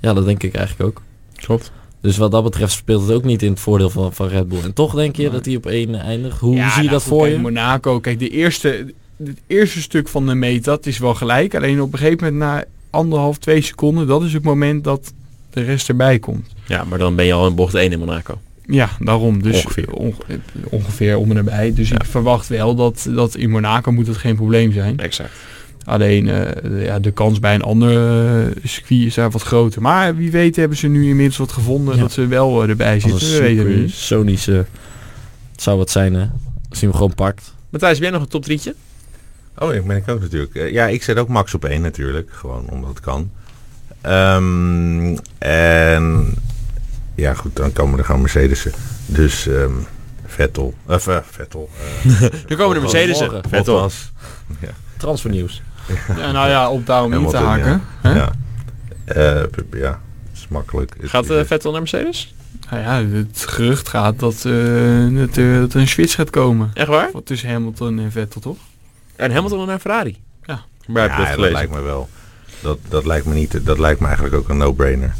Speaker 2: Ja, dat denk ik eigenlijk ook.
Speaker 1: klopt.
Speaker 2: Dus wat dat betreft speelt het ook niet in het voordeel van, van Red Bull. En toch denk je
Speaker 3: Nee.
Speaker 2: dat hij op één eindigt. Hoe
Speaker 3: Ja,
Speaker 2: zie je
Speaker 3: nou
Speaker 2: dat
Speaker 3: goed,
Speaker 2: voor
Speaker 3: kijk,
Speaker 2: je?
Speaker 3: Monaco, kijk, de eerste, het eerste stuk van de meet, dat is wel gelijk. Alleen op een gegeven moment na anderhalf, twee seconden, dat is het moment dat de rest erbij komt.
Speaker 1: Ja, maar dan ben je al in bocht 1 in Monaco.
Speaker 3: Ja, daarom. Dus
Speaker 1: Ongeveer.
Speaker 3: onge- ongeveer om en nabij. Dus ik verwacht wel dat, dat in Monaco moet het geen probleem zijn.
Speaker 1: Exact.
Speaker 3: Alleen eh, ja, de kans bij een ander eh, circuit is daar wat groter. Maar wie weet hebben ze nu inmiddels wat gevonden
Speaker 2: Ja.
Speaker 3: dat ze wel eh, erbij
Speaker 2: Als
Speaker 3: zitten. We weten het
Speaker 2: een
Speaker 3: niet.
Speaker 2: Sony's... het zou wat zijn, hè? Als hij hem gewoon pakt.
Speaker 1: Matthijs, ben jij nog een top 3'tje?
Speaker 4: Oh, ik ben ik ook natuurlijk. Eh, ja, ik zet ook Max op één natuurlijk. Gewoon omdat het kan. Ehm, en ja, goed, dan komen er gewoon Mercedes'en. Dus ehm, Vettel. Of eh, Vettel.
Speaker 1: Er komen de Mercedes'en.
Speaker 2: Morgen.
Speaker 1: Vettel.
Speaker 4: Bottas.
Speaker 2: Transfernieuws.
Speaker 3: Ja, nou ja, op daarom in te
Speaker 4: Hamilton,
Speaker 3: haken. Hè?
Speaker 4: Ja. Eh, p- ja, is makkelijk. Het
Speaker 1: Gaat
Speaker 4: is
Speaker 1: eh,
Speaker 4: het.
Speaker 1: Vettel naar Mercedes?
Speaker 3: Nou ja, het gerucht gaat dat, eh, dat, eh, dat er een switch gaat komen.
Speaker 1: Echt waar?
Speaker 3: Wat Tussen Hamilton en Vettel, toch?
Speaker 1: En Hamilton naar Ferrari?
Speaker 3: Ja.
Speaker 1: Maar heb je dat
Speaker 4: ja, dat
Speaker 1: gelezen?
Speaker 4: lijkt me wel. Dat, dat lijkt me niet. Dat lijkt me eigenlijk ook een no-brainer.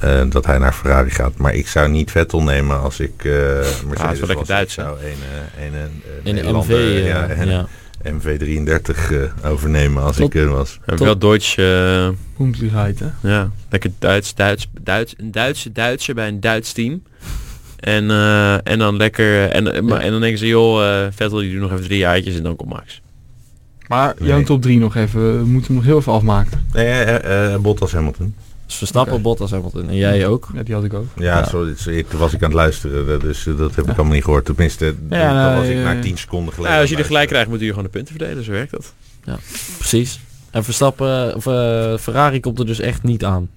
Speaker 4: Eh, dat hij naar Ferrari gaat. Maar ik zou niet Vettel nemen als ik eh Mercedes
Speaker 1: wel lekker
Speaker 4: was.
Speaker 1: Duits,
Speaker 4: Ik zou een, eh, een, eh,
Speaker 2: In de MV.
Speaker 4: Nederlander,
Speaker 2: eh, ja,
Speaker 4: ja, en MV33 eh, overnemen als
Speaker 2: Klopt.
Speaker 4: ik er was.
Speaker 1: We hebben wel Deutsch, eh,
Speaker 3: Punktligheid, hè?
Speaker 1: ja, lekker Duits, Duits, Duits, een Duitse Duitser bij een Duits team. En, eh, en dan lekker, en, eh, maar- en dan denken ze, joh, eh, Vettel die doet nog even drie jaartjes en dan komt Max.
Speaker 3: Maar
Speaker 4: Nee.
Speaker 3: jouw top 3 nog even. We moeten hem nog heel even afmaken.
Speaker 4: Nee, eh, eh, Bottas Hamilton.
Speaker 2: Dus Verstappen, Bottas, Hamilton. En jij ook.
Speaker 3: Ja, die had ik ook.
Speaker 4: Ja,
Speaker 2: Ja.
Speaker 4: sorry. dus ik- toen was ik aan het luisteren. eh, Dus eh, dat heb ik allemaal niet gehoord. Tenminste,
Speaker 3: Ja,
Speaker 2: nou,
Speaker 4: dan was
Speaker 3: nee,
Speaker 4: ik
Speaker 3: eh,
Speaker 4: na 10 seconden geleden.
Speaker 1: Nou, als je
Speaker 4: aan
Speaker 1: er
Speaker 4: het
Speaker 1: gelijk
Speaker 4: luisteren.
Speaker 1: krijgt, moeten jullie gewoon de punten verdelen, zo werkt dat.
Speaker 2: Precies. En Verstappen, of eh, Ferrari komt er dus echt niet aan.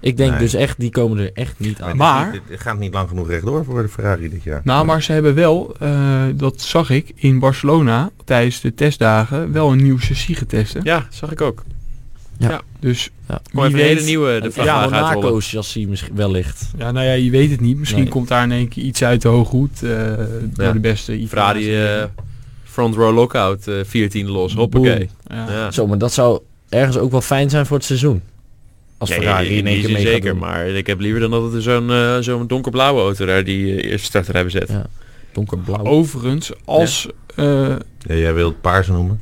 Speaker 2: Ik denk
Speaker 4: Nee.
Speaker 2: dus echt, die komen er echt niet aan.
Speaker 4: Maar
Speaker 3: Maar-
Speaker 4: het is niet- het gaat niet lang genoeg rechtdoor voor de Ferrari dit jaar.
Speaker 3: Nou, maar ze hebben wel, eh, dat zag ik in Barcelona tijdens de testdagen, wel een nieuw chassis getest. hè?
Speaker 1: Ja, zag ik ook.
Speaker 3: Dus
Speaker 2: Ja.
Speaker 1: Gewoon
Speaker 3: wie
Speaker 1: even een hele
Speaker 3: weet-
Speaker 1: nieuwe de
Speaker 2: Het
Speaker 1: vraag uit
Speaker 2: Monaco chassis misschien wellicht.
Speaker 3: Ja, nou ja, je weet het niet. Misschien
Speaker 2: Nee.
Speaker 3: komt daar in één keer iets uit de hooghoed. eh
Speaker 1: Ja.
Speaker 3: Door de beste
Speaker 1: Ferrari eh,
Speaker 3: Italiaanse.
Speaker 1: front row lockout eh 14 los, hoppakee.
Speaker 3: Ja.
Speaker 1: Ja.
Speaker 2: Zo, maar dat zou ergens ook wel fijn zijn voor het seizoen. Als Ferrari in
Speaker 1: die
Speaker 2: één keer
Speaker 1: is
Speaker 2: mee
Speaker 1: er
Speaker 2: gaat
Speaker 1: zeker,
Speaker 2: doen.
Speaker 1: maar ik heb liever dan dat het er zo'n eh, zo'n donkerblauwe auto daar die eh, eerste starter hebben zet.
Speaker 2: Ja. Donkerblauw.
Speaker 1: Oh.
Speaker 3: Overigens, als... eh,
Speaker 4: Ja, jij wilt paars noemen?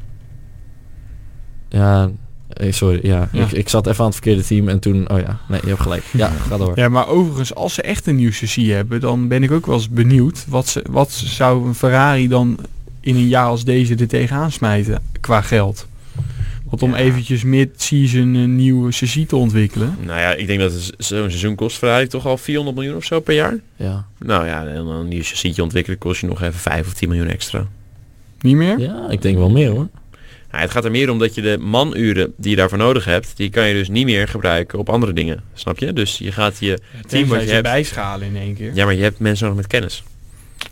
Speaker 2: Ja, eh, sorry. Ja.
Speaker 3: Ja.
Speaker 2: Ik, ik zat even aan het verkeerde team en toen... Oh ja, nee, je hebt gelijk. Ja, ga door.
Speaker 3: Ja, maar overigens, als ze echt een nieuw chassis hebben, dan ben ik ook wel eens benieuwd wat, ze, wat zou een Ferrari dan in een jaar als deze er tegenaan smijten qua geld. Want om
Speaker 1: Ja.
Speaker 3: eventjes mid-season een nieuwe chassis te ontwikkelen.
Speaker 1: Nou ja, ik denk dat het zo'n seizoen kost Ferrari toch al 400 miljoen of zo per jaar.
Speaker 2: Ja.
Speaker 1: Nou ja, en dan een nieuw chassisje ontwikkelen kost je nog even 5 of 10 miljoen extra.
Speaker 3: Niet meer?
Speaker 2: ja, ik denk wel meer hoor.
Speaker 1: Nou, het gaat er meer om dat je de manuren die je daarvoor nodig hebt, die kan je dus niet meer gebruiken op andere dingen. Snap je? Dus je gaat je...
Speaker 3: Het
Speaker 1: team wat je hebt.
Speaker 3: bijschalen in één keer.
Speaker 1: Ja, maar je hebt mensen nodig met kennis.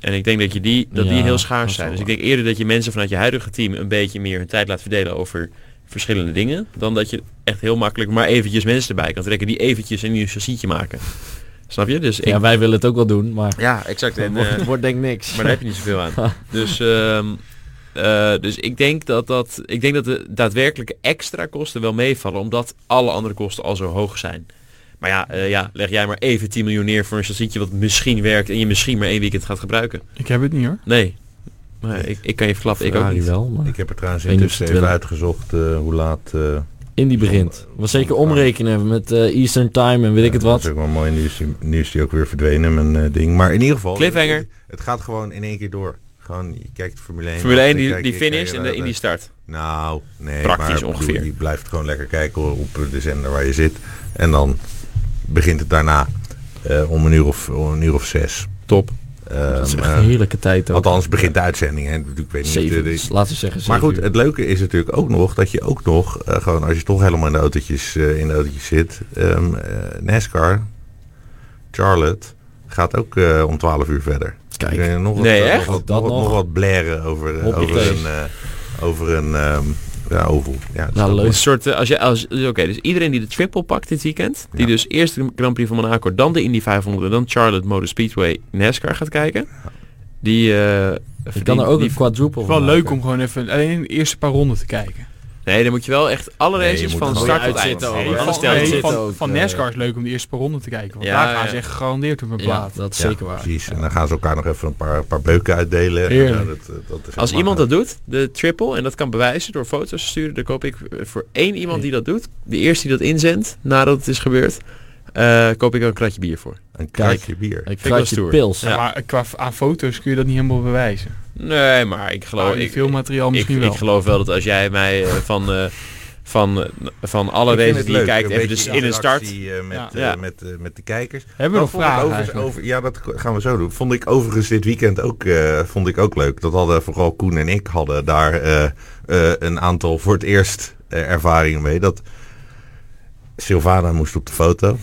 Speaker 1: En ik denk dat, je die, dat
Speaker 2: Ja,
Speaker 1: die heel
Speaker 2: dat
Speaker 1: schaars
Speaker 2: is
Speaker 1: zijn.
Speaker 2: wel
Speaker 1: Dus ik denk eerder dat je mensen vanuit je huidige team een beetje meer hun tijd laat verdelen over verschillende dingen. Dan dat je echt heel makkelijk maar eventjes mensen erbij kan trekken die eventjes een nieuw chassietje maken. Snap je? Dus ik,
Speaker 2: Ja, wij willen het ook wel doen, maar
Speaker 1: ja, exact.
Speaker 2: het
Speaker 1: En,
Speaker 2: wordt,
Speaker 1: eh,
Speaker 2: wordt denk ik niks.
Speaker 1: maar daar heb je niet zoveel aan. Dus, ehm, eh, dus ik denk dat dat ik denk dat de daadwerkelijke extra kosten wel meevallen, omdat alle andere kosten al zo hoog zijn. Maar ja, eh, ja leg jij maar even 10 miljoen neer voor een chassietje wat misschien werkt en je misschien maar één weekend gaat gebruiken.
Speaker 3: Ik heb het niet hoor.
Speaker 1: Nee. Maar ik, ik kan je verklappen, ik ook
Speaker 2: Ferrari
Speaker 1: niet.
Speaker 2: wel, maar
Speaker 4: Ik heb er trouwens
Speaker 2: Ik weet niet
Speaker 4: intussen
Speaker 2: of ze
Speaker 4: even
Speaker 2: het
Speaker 4: uitgezocht eh, hoe laat... eh,
Speaker 2: Indy begint. Was zeker omrekenen met eh, Eastern Time en weet ik het
Speaker 4: Dat
Speaker 2: wat.
Speaker 4: is ook wel mooi nieuws. Die, nieuws die ook weer verdwenen, mijn eh, ding. Maar in ieder geval...
Speaker 1: Cliffhanger.
Speaker 4: Het, het gaat gewoon in één keer door. Gewoon, je kijkt Formule 1.
Speaker 1: Formule
Speaker 4: af,
Speaker 1: 1
Speaker 4: dan
Speaker 1: die,
Speaker 4: kijk
Speaker 1: die
Speaker 4: je-
Speaker 1: finish
Speaker 4: kijk
Speaker 1: en de
Speaker 4: je
Speaker 1: in die
Speaker 4: naar-
Speaker 1: start.
Speaker 4: Nou, nee.
Speaker 1: Praktisch
Speaker 4: maar, ik bedoel,
Speaker 1: ongeveer.
Speaker 4: Je blijft gewoon lekker kijken hoor, op de zender waar je zit. En dan begint het daarna eh, om, een uur of, om een uur of zes.
Speaker 2: Top.
Speaker 4: Ehm,
Speaker 2: Dat is echt
Speaker 4: eh,
Speaker 2: een heerlijke tijd ook.
Speaker 4: althans, begint de uitzending. Hè. Ik weet niet, eh,
Speaker 2: Zeven,
Speaker 4: de- de-
Speaker 2: dus laten we zeggen
Speaker 4: maar
Speaker 2: zeven
Speaker 4: goed,
Speaker 2: uur.
Speaker 4: het leuke is natuurlijk ook nog dat je ook nog, eh, gewoon als je toch helemaal in de autootjes, eh, in de autootjes zit, ehm, eh, NASCAR, Charlotte, gaat ook eh, om 12 uur verder.
Speaker 2: Kijk,
Speaker 4: Kun je nog wat,
Speaker 1: Nee,
Speaker 4: nog
Speaker 1: echt?
Speaker 4: wat-
Speaker 2: Dat
Speaker 4: nog, wat-
Speaker 2: nog?
Speaker 4: nog wat blaren over, eh,
Speaker 2: Hoppakee.
Speaker 4: over een, eh, over een ehm, ja, oval. Ja, dus dat
Speaker 2: nou
Speaker 4: is
Speaker 1: Een
Speaker 2: leuk.
Speaker 1: soort, eh, als je, als, dus Oké, dus iedereen die de triple pakt dit weekend, die
Speaker 4: Ja.
Speaker 1: dus eerst de Grand Prix van Monaco, dan de Indy 500 en dan Charlotte Motor Speedway NASCAR gaat kijken, die... eh
Speaker 2: Ik
Speaker 1: verdient-
Speaker 2: kan er ook
Speaker 1: die-
Speaker 2: een quadruple
Speaker 3: Het is
Speaker 2: van
Speaker 3: wel leuk
Speaker 2: maken.
Speaker 3: om gewoon even alleen de eerste paar ronden te kijken.
Speaker 1: Nee, dan moet je wel echt alle
Speaker 4: Nee, je
Speaker 1: races
Speaker 4: moet
Speaker 1: van
Speaker 4: het
Speaker 1: start
Speaker 4: gewoon
Speaker 1: tot eind.
Speaker 2: uitzitten
Speaker 1: Nee,
Speaker 2: Oh, ook, hè?
Speaker 1: alles telt.
Speaker 2: Nee,
Speaker 1: niet.
Speaker 2: zit
Speaker 3: van,
Speaker 2: ook,
Speaker 3: van
Speaker 2: eh,
Speaker 3: NASCAR is leuk om de eerste paar ronden te kijken. Want
Speaker 1: Ja,
Speaker 3: daar gaan
Speaker 1: ja.
Speaker 3: ze echt gegarandeerd op een
Speaker 2: Ja,
Speaker 3: plaat.
Speaker 2: dat is
Speaker 4: Ja,
Speaker 2: zeker waar.
Speaker 4: Precies, en dan gaan ze elkaar nog even een paar, paar beuken uitdelen.
Speaker 3: Heerlijk.
Speaker 4: En, eh, dat, eh, dat is
Speaker 1: Als
Speaker 4: helemaal-
Speaker 1: iemand dat doet, de triple, en dat kan bewijzen door foto's te sturen, dan koop ik eh, voor één iemand die dat doet, de eerste die dat inzendt, nadat het is gebeurd, eh, koop ik een kratje bier voor.
Speaker 4: Een kratje bier.
Speaker 2: Ik
Speaker 1: wel
Speaker 2: krijg je
Speaker 1: stoer.
Speaker 2: pils.
Speaker 1: Ja.
Speaker 3: Maar qua f- aan foto's kun je dat niet helemaal bewijzen.
Speaker 1: Nee, maar ik geloof...
Speaker 3: Maar in
Speaker 1: ik,
Speaker 3: filmmateriaal
Speaker 1: ik,
Speaker 3: Oh, misschien
Speaker 1: ik
Speaker 3: wel.
Speaker 1: geloof wel dat als jij mij eh, van, eh, van, eh, van alle
Speaker 4: Ik vind
Speaker 1: races
Speaker 4: het
Speaker 1: die je
Speaker 4: leuk,
Speaker 1: kijkt,
Speaker 4: een
Speaker 1: even dus
Speaker 4: beetje
Speaker 1: in een start...
Speaker 4: interactie, eh, met,
Speaker 3: Ja.
Speaker 4: eh,
Speaker 1: Ja.
Speaker 4: met, eh, met de kijkers.
Speaker 3: Hebben we nog
Speaker 4: Dat vond ik
Speaker 3: vragen
Speaker 4: overigens
Speaker 3: eigenlijk?
Speaker 4: over, ja, dat k- gaan we zo doen. Vond ik overigens dit weekend ook, eh, vond ik ook leuk. Dat hadden vooral Koen en ik hadden daar eh, eh, een aantal voor het eerst eh, ervaringen mee. Dat Sylvana moest op de foto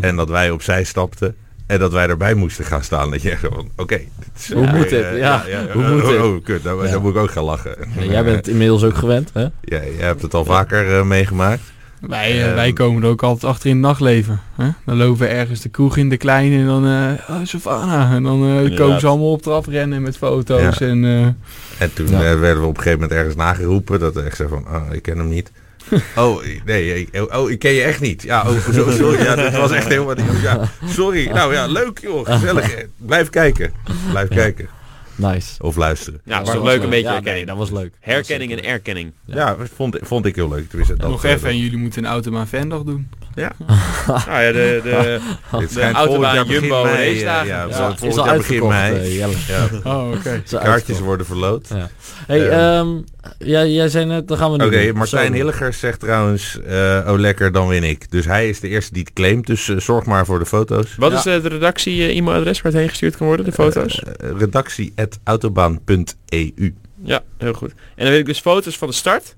Speaker 4: en dat wij opzij stapten. En dat wij erbij moesten gaan staan. Dat je echt van, oké. dit is
Speaker 2: Hoe
Speaker 4: weer,
Speaker 2: moet dit?
Speaker 4: eh,
Speaker 2: Ja, hoe
Speaker 4: eh,
Speaker 2: moet
Speaker 4: oh,
Speaker 2: dit?
Speaker 4: Oh, kut, daar,
Speaker 2: Ja.
Speaker 4: daar moet ik ook gaan lachen.
Speaker 2: Ja, jij bent het inmiddels ook gewend, hè?
Speaker 4: Ja, jij hebt het al vaker eh, meegemaakt.
Speaker 3: Wij, eh,
Speaker 4: Ehm,
Speaker 3: wij komen er ook altijd achter in het nachtleven. Hè? Dan lopen we ergens de kroeg in, de kleine, en dan... eh oh, Savannah. En dan eh, komen
Speaker 1: Inderdaad.
Speaker 3: ze allemaal op trap rennen met foto's. En, eh,
Speaker 4: En toen
Speaker 2: Ja.
Speaker 4: eh, werden we op een gegeven moment ergens nageroepen. Dat we echt zei van, ah, ik ken hem niet. Oh, nee, ik, oh, oh, ik ken je echt niet. Ja, oh, zo- sorry. Ja, dat was echt helemaal niet. Ja, sorry. Nou ja, leuk joh. Gezellig. Eh, Blijf kijken. Blijf
Speaker 2: Ja.
Speaker 4: kijken.
Speaker 2: Nice.
Speaker 4: Of luisteren.
Speaker 1: Ja, was
Speaker 2: Dat
Speaker 1: Nou, toch leuk een beetje
Speaker 2: Ja,
Speaker 1: herkenning.
Speaker 2: nee, dat was leuk.
Speaker 1: Herkenning en
Speaker 2: Dat
Speaker 1: erkenning.
Speaker 4: Ja,
Speaker 2: Ja.
Speaker 4: vond, vond ik heel leuk. Tenminste, dat,
Speaker 3: nog
Speaker 4: eh,
Speaker 3: even, en jullie moeten een automa fandag doen.
Speaker 1: Nou ja, de, de,
Speaker 4: dat- dit
Speaker 1: de
Speaker 4: schijnt
Speaker 1: autobaan
Speaker 4: volgend jaar begin
Speaker 1: Jumbo
Speaker 4: mei, eh,
Speaker 1: racedagen.
Speaker 4: ja,
Speaker 2: was leuk.
Speaker 4: volgend
Speaker 2: Ja, is al
Speaker 4: jaar begin
Speaker 2: uitverkocht,
Speaker 4: mei.
Speaker 2: eh, Jelle.
Speaker 4: Ja,
Speaker 3: Oh, oké.
Speaker 2: Is al
Speaker 4: kaartjes
Speaker 2: uitverkocht. Oh,
Speaker 4: worden verloot.
Speaker 2: Hey,
Speaker 4: Eh,
Speaker 2: ehm, jij, jij zei net, dan gaan we nu
Speaker 4: Oké,
Speaker 2: doen.
Speaker 4: Martijn
Speaker 2: Zo.
Speaker 4: Hilliger zegt trouwens, eh, oh lekker, dan win ik. Dus hij is de eerste die het claimt, dus eh, zorg maar voor de foto's.
Speaker 1: Wat
Speaker 2: Ja.
Speaker 1: is eh, het redactie-e-mailadres waar het heen gestuurd kan worden, de foto's?
Speaker 4: Eh, redactie.autobaan.eu.
Speaker 1: Ja, heel goed. En dan wil ik dus foto's van de start,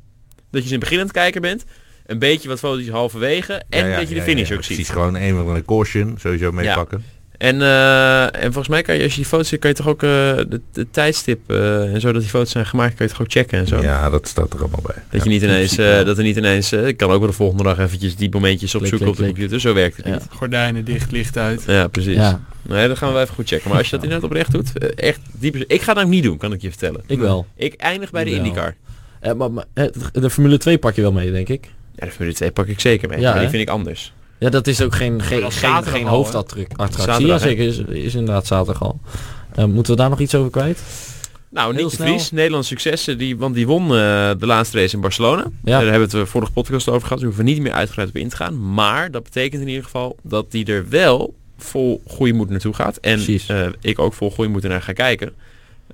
Speaker 1: dat je ze in het begin aan het kijken bent, een beetje wat foto's halverwege en
Speaker 4: Ja, ja,
Speaker 1: dat je
Speaker 4: ja,
Speaker 1: de finish
Speaker 4: ja,
Speaker 1: ook ziet.
Speaker 4: Precies, gewoon een van de caution sowieso meepakken.
Speaker 1: En, eh, en volgens mij kan je, als je die foto's ziet, kan je toch ook eh, de, de tijdstip eh, en zo dat die foto's zijn gemaakt, kan je toch ook checken en zo.
Speaker 4: Ja. dat staat er allemaal bij.
Speaker 1: Dat
Speaker 4: Ja.
Speaker 1: je niet ineens,
Speaker 2: principe,
Speaker 1: eh,
Speaker 2: ja.
Speaker 1: dat er niet ineens, eh, ik kan ook wel de volgende dag eventjes die momentjes
Speaker 2: Klik,
Speaker 1: opzoeken
Speaker 2: klik,
Speaker 1: op de
Speaker 2: klik.
Speaker 1: computer, zo werkt het
Speaker 2: Ja.
Speaker 1: niet.
Speaker 3: Gordijnen dicht, licht uit.
Speaker 1: Ja, precies.
Speaker 2: Ja,
Speaker 1: Nee, dat gaan we even goed checken. Maar als je dat inderdaad oprecht doet, eh, echt diep. Ik ga dat ook niet doen, kan ik je vertellen.
Speaker 2: ik wel.
Speaker 1: Ik eindig bij de
Speaker 2: Ja.
Speaker 1: IndyCar.
Speaker 2: Eh, maar, maar, eh, de Formule 2 pak je wel mee, denk ik.
Speaker 1: Ja, de Formule 2 pak ik zeker mee.
Speaker 2: Ja,
Speaker 1: maar die
Speaker 2: hè?
Speaker 1: vind ik anders.
Speaker 2: Ja, dat is ook geen, geen,
Speaker 3: dat is
Speaker 2: geen,
Speaker 3: zaterdag
Speaker 2: geen
Speaker 3: al, hè?
Speaker 2: hoofdattractie. Ja,
Speaker 1: Zaterdag, hè?
Speaker 2: zeker. Is, is inderdaad zaterdag al. Eh, moeten we daar nog iets over kwijt?
Speaker 1: Nou,
Speaker 2: Heel
Speaker 1: Nick de
Speaker 2: snel.
Speaker 1: Vries, Nederlands successen, die, want die won eh, de laatste race in Barcelona.
Speaker 2: Ja.
Speaker 1: Daar hebben we het eh, vorige podcast over gehad, dus we hoeven niet meer uitgebreid op in te gaan. Maar dat betekent in ieder geval dat die er wel vol goede moed naartoe gaat. En
Speaker 2: Precies.
Speaker 1: eh, ik ook vol goede moed naar ga kijken.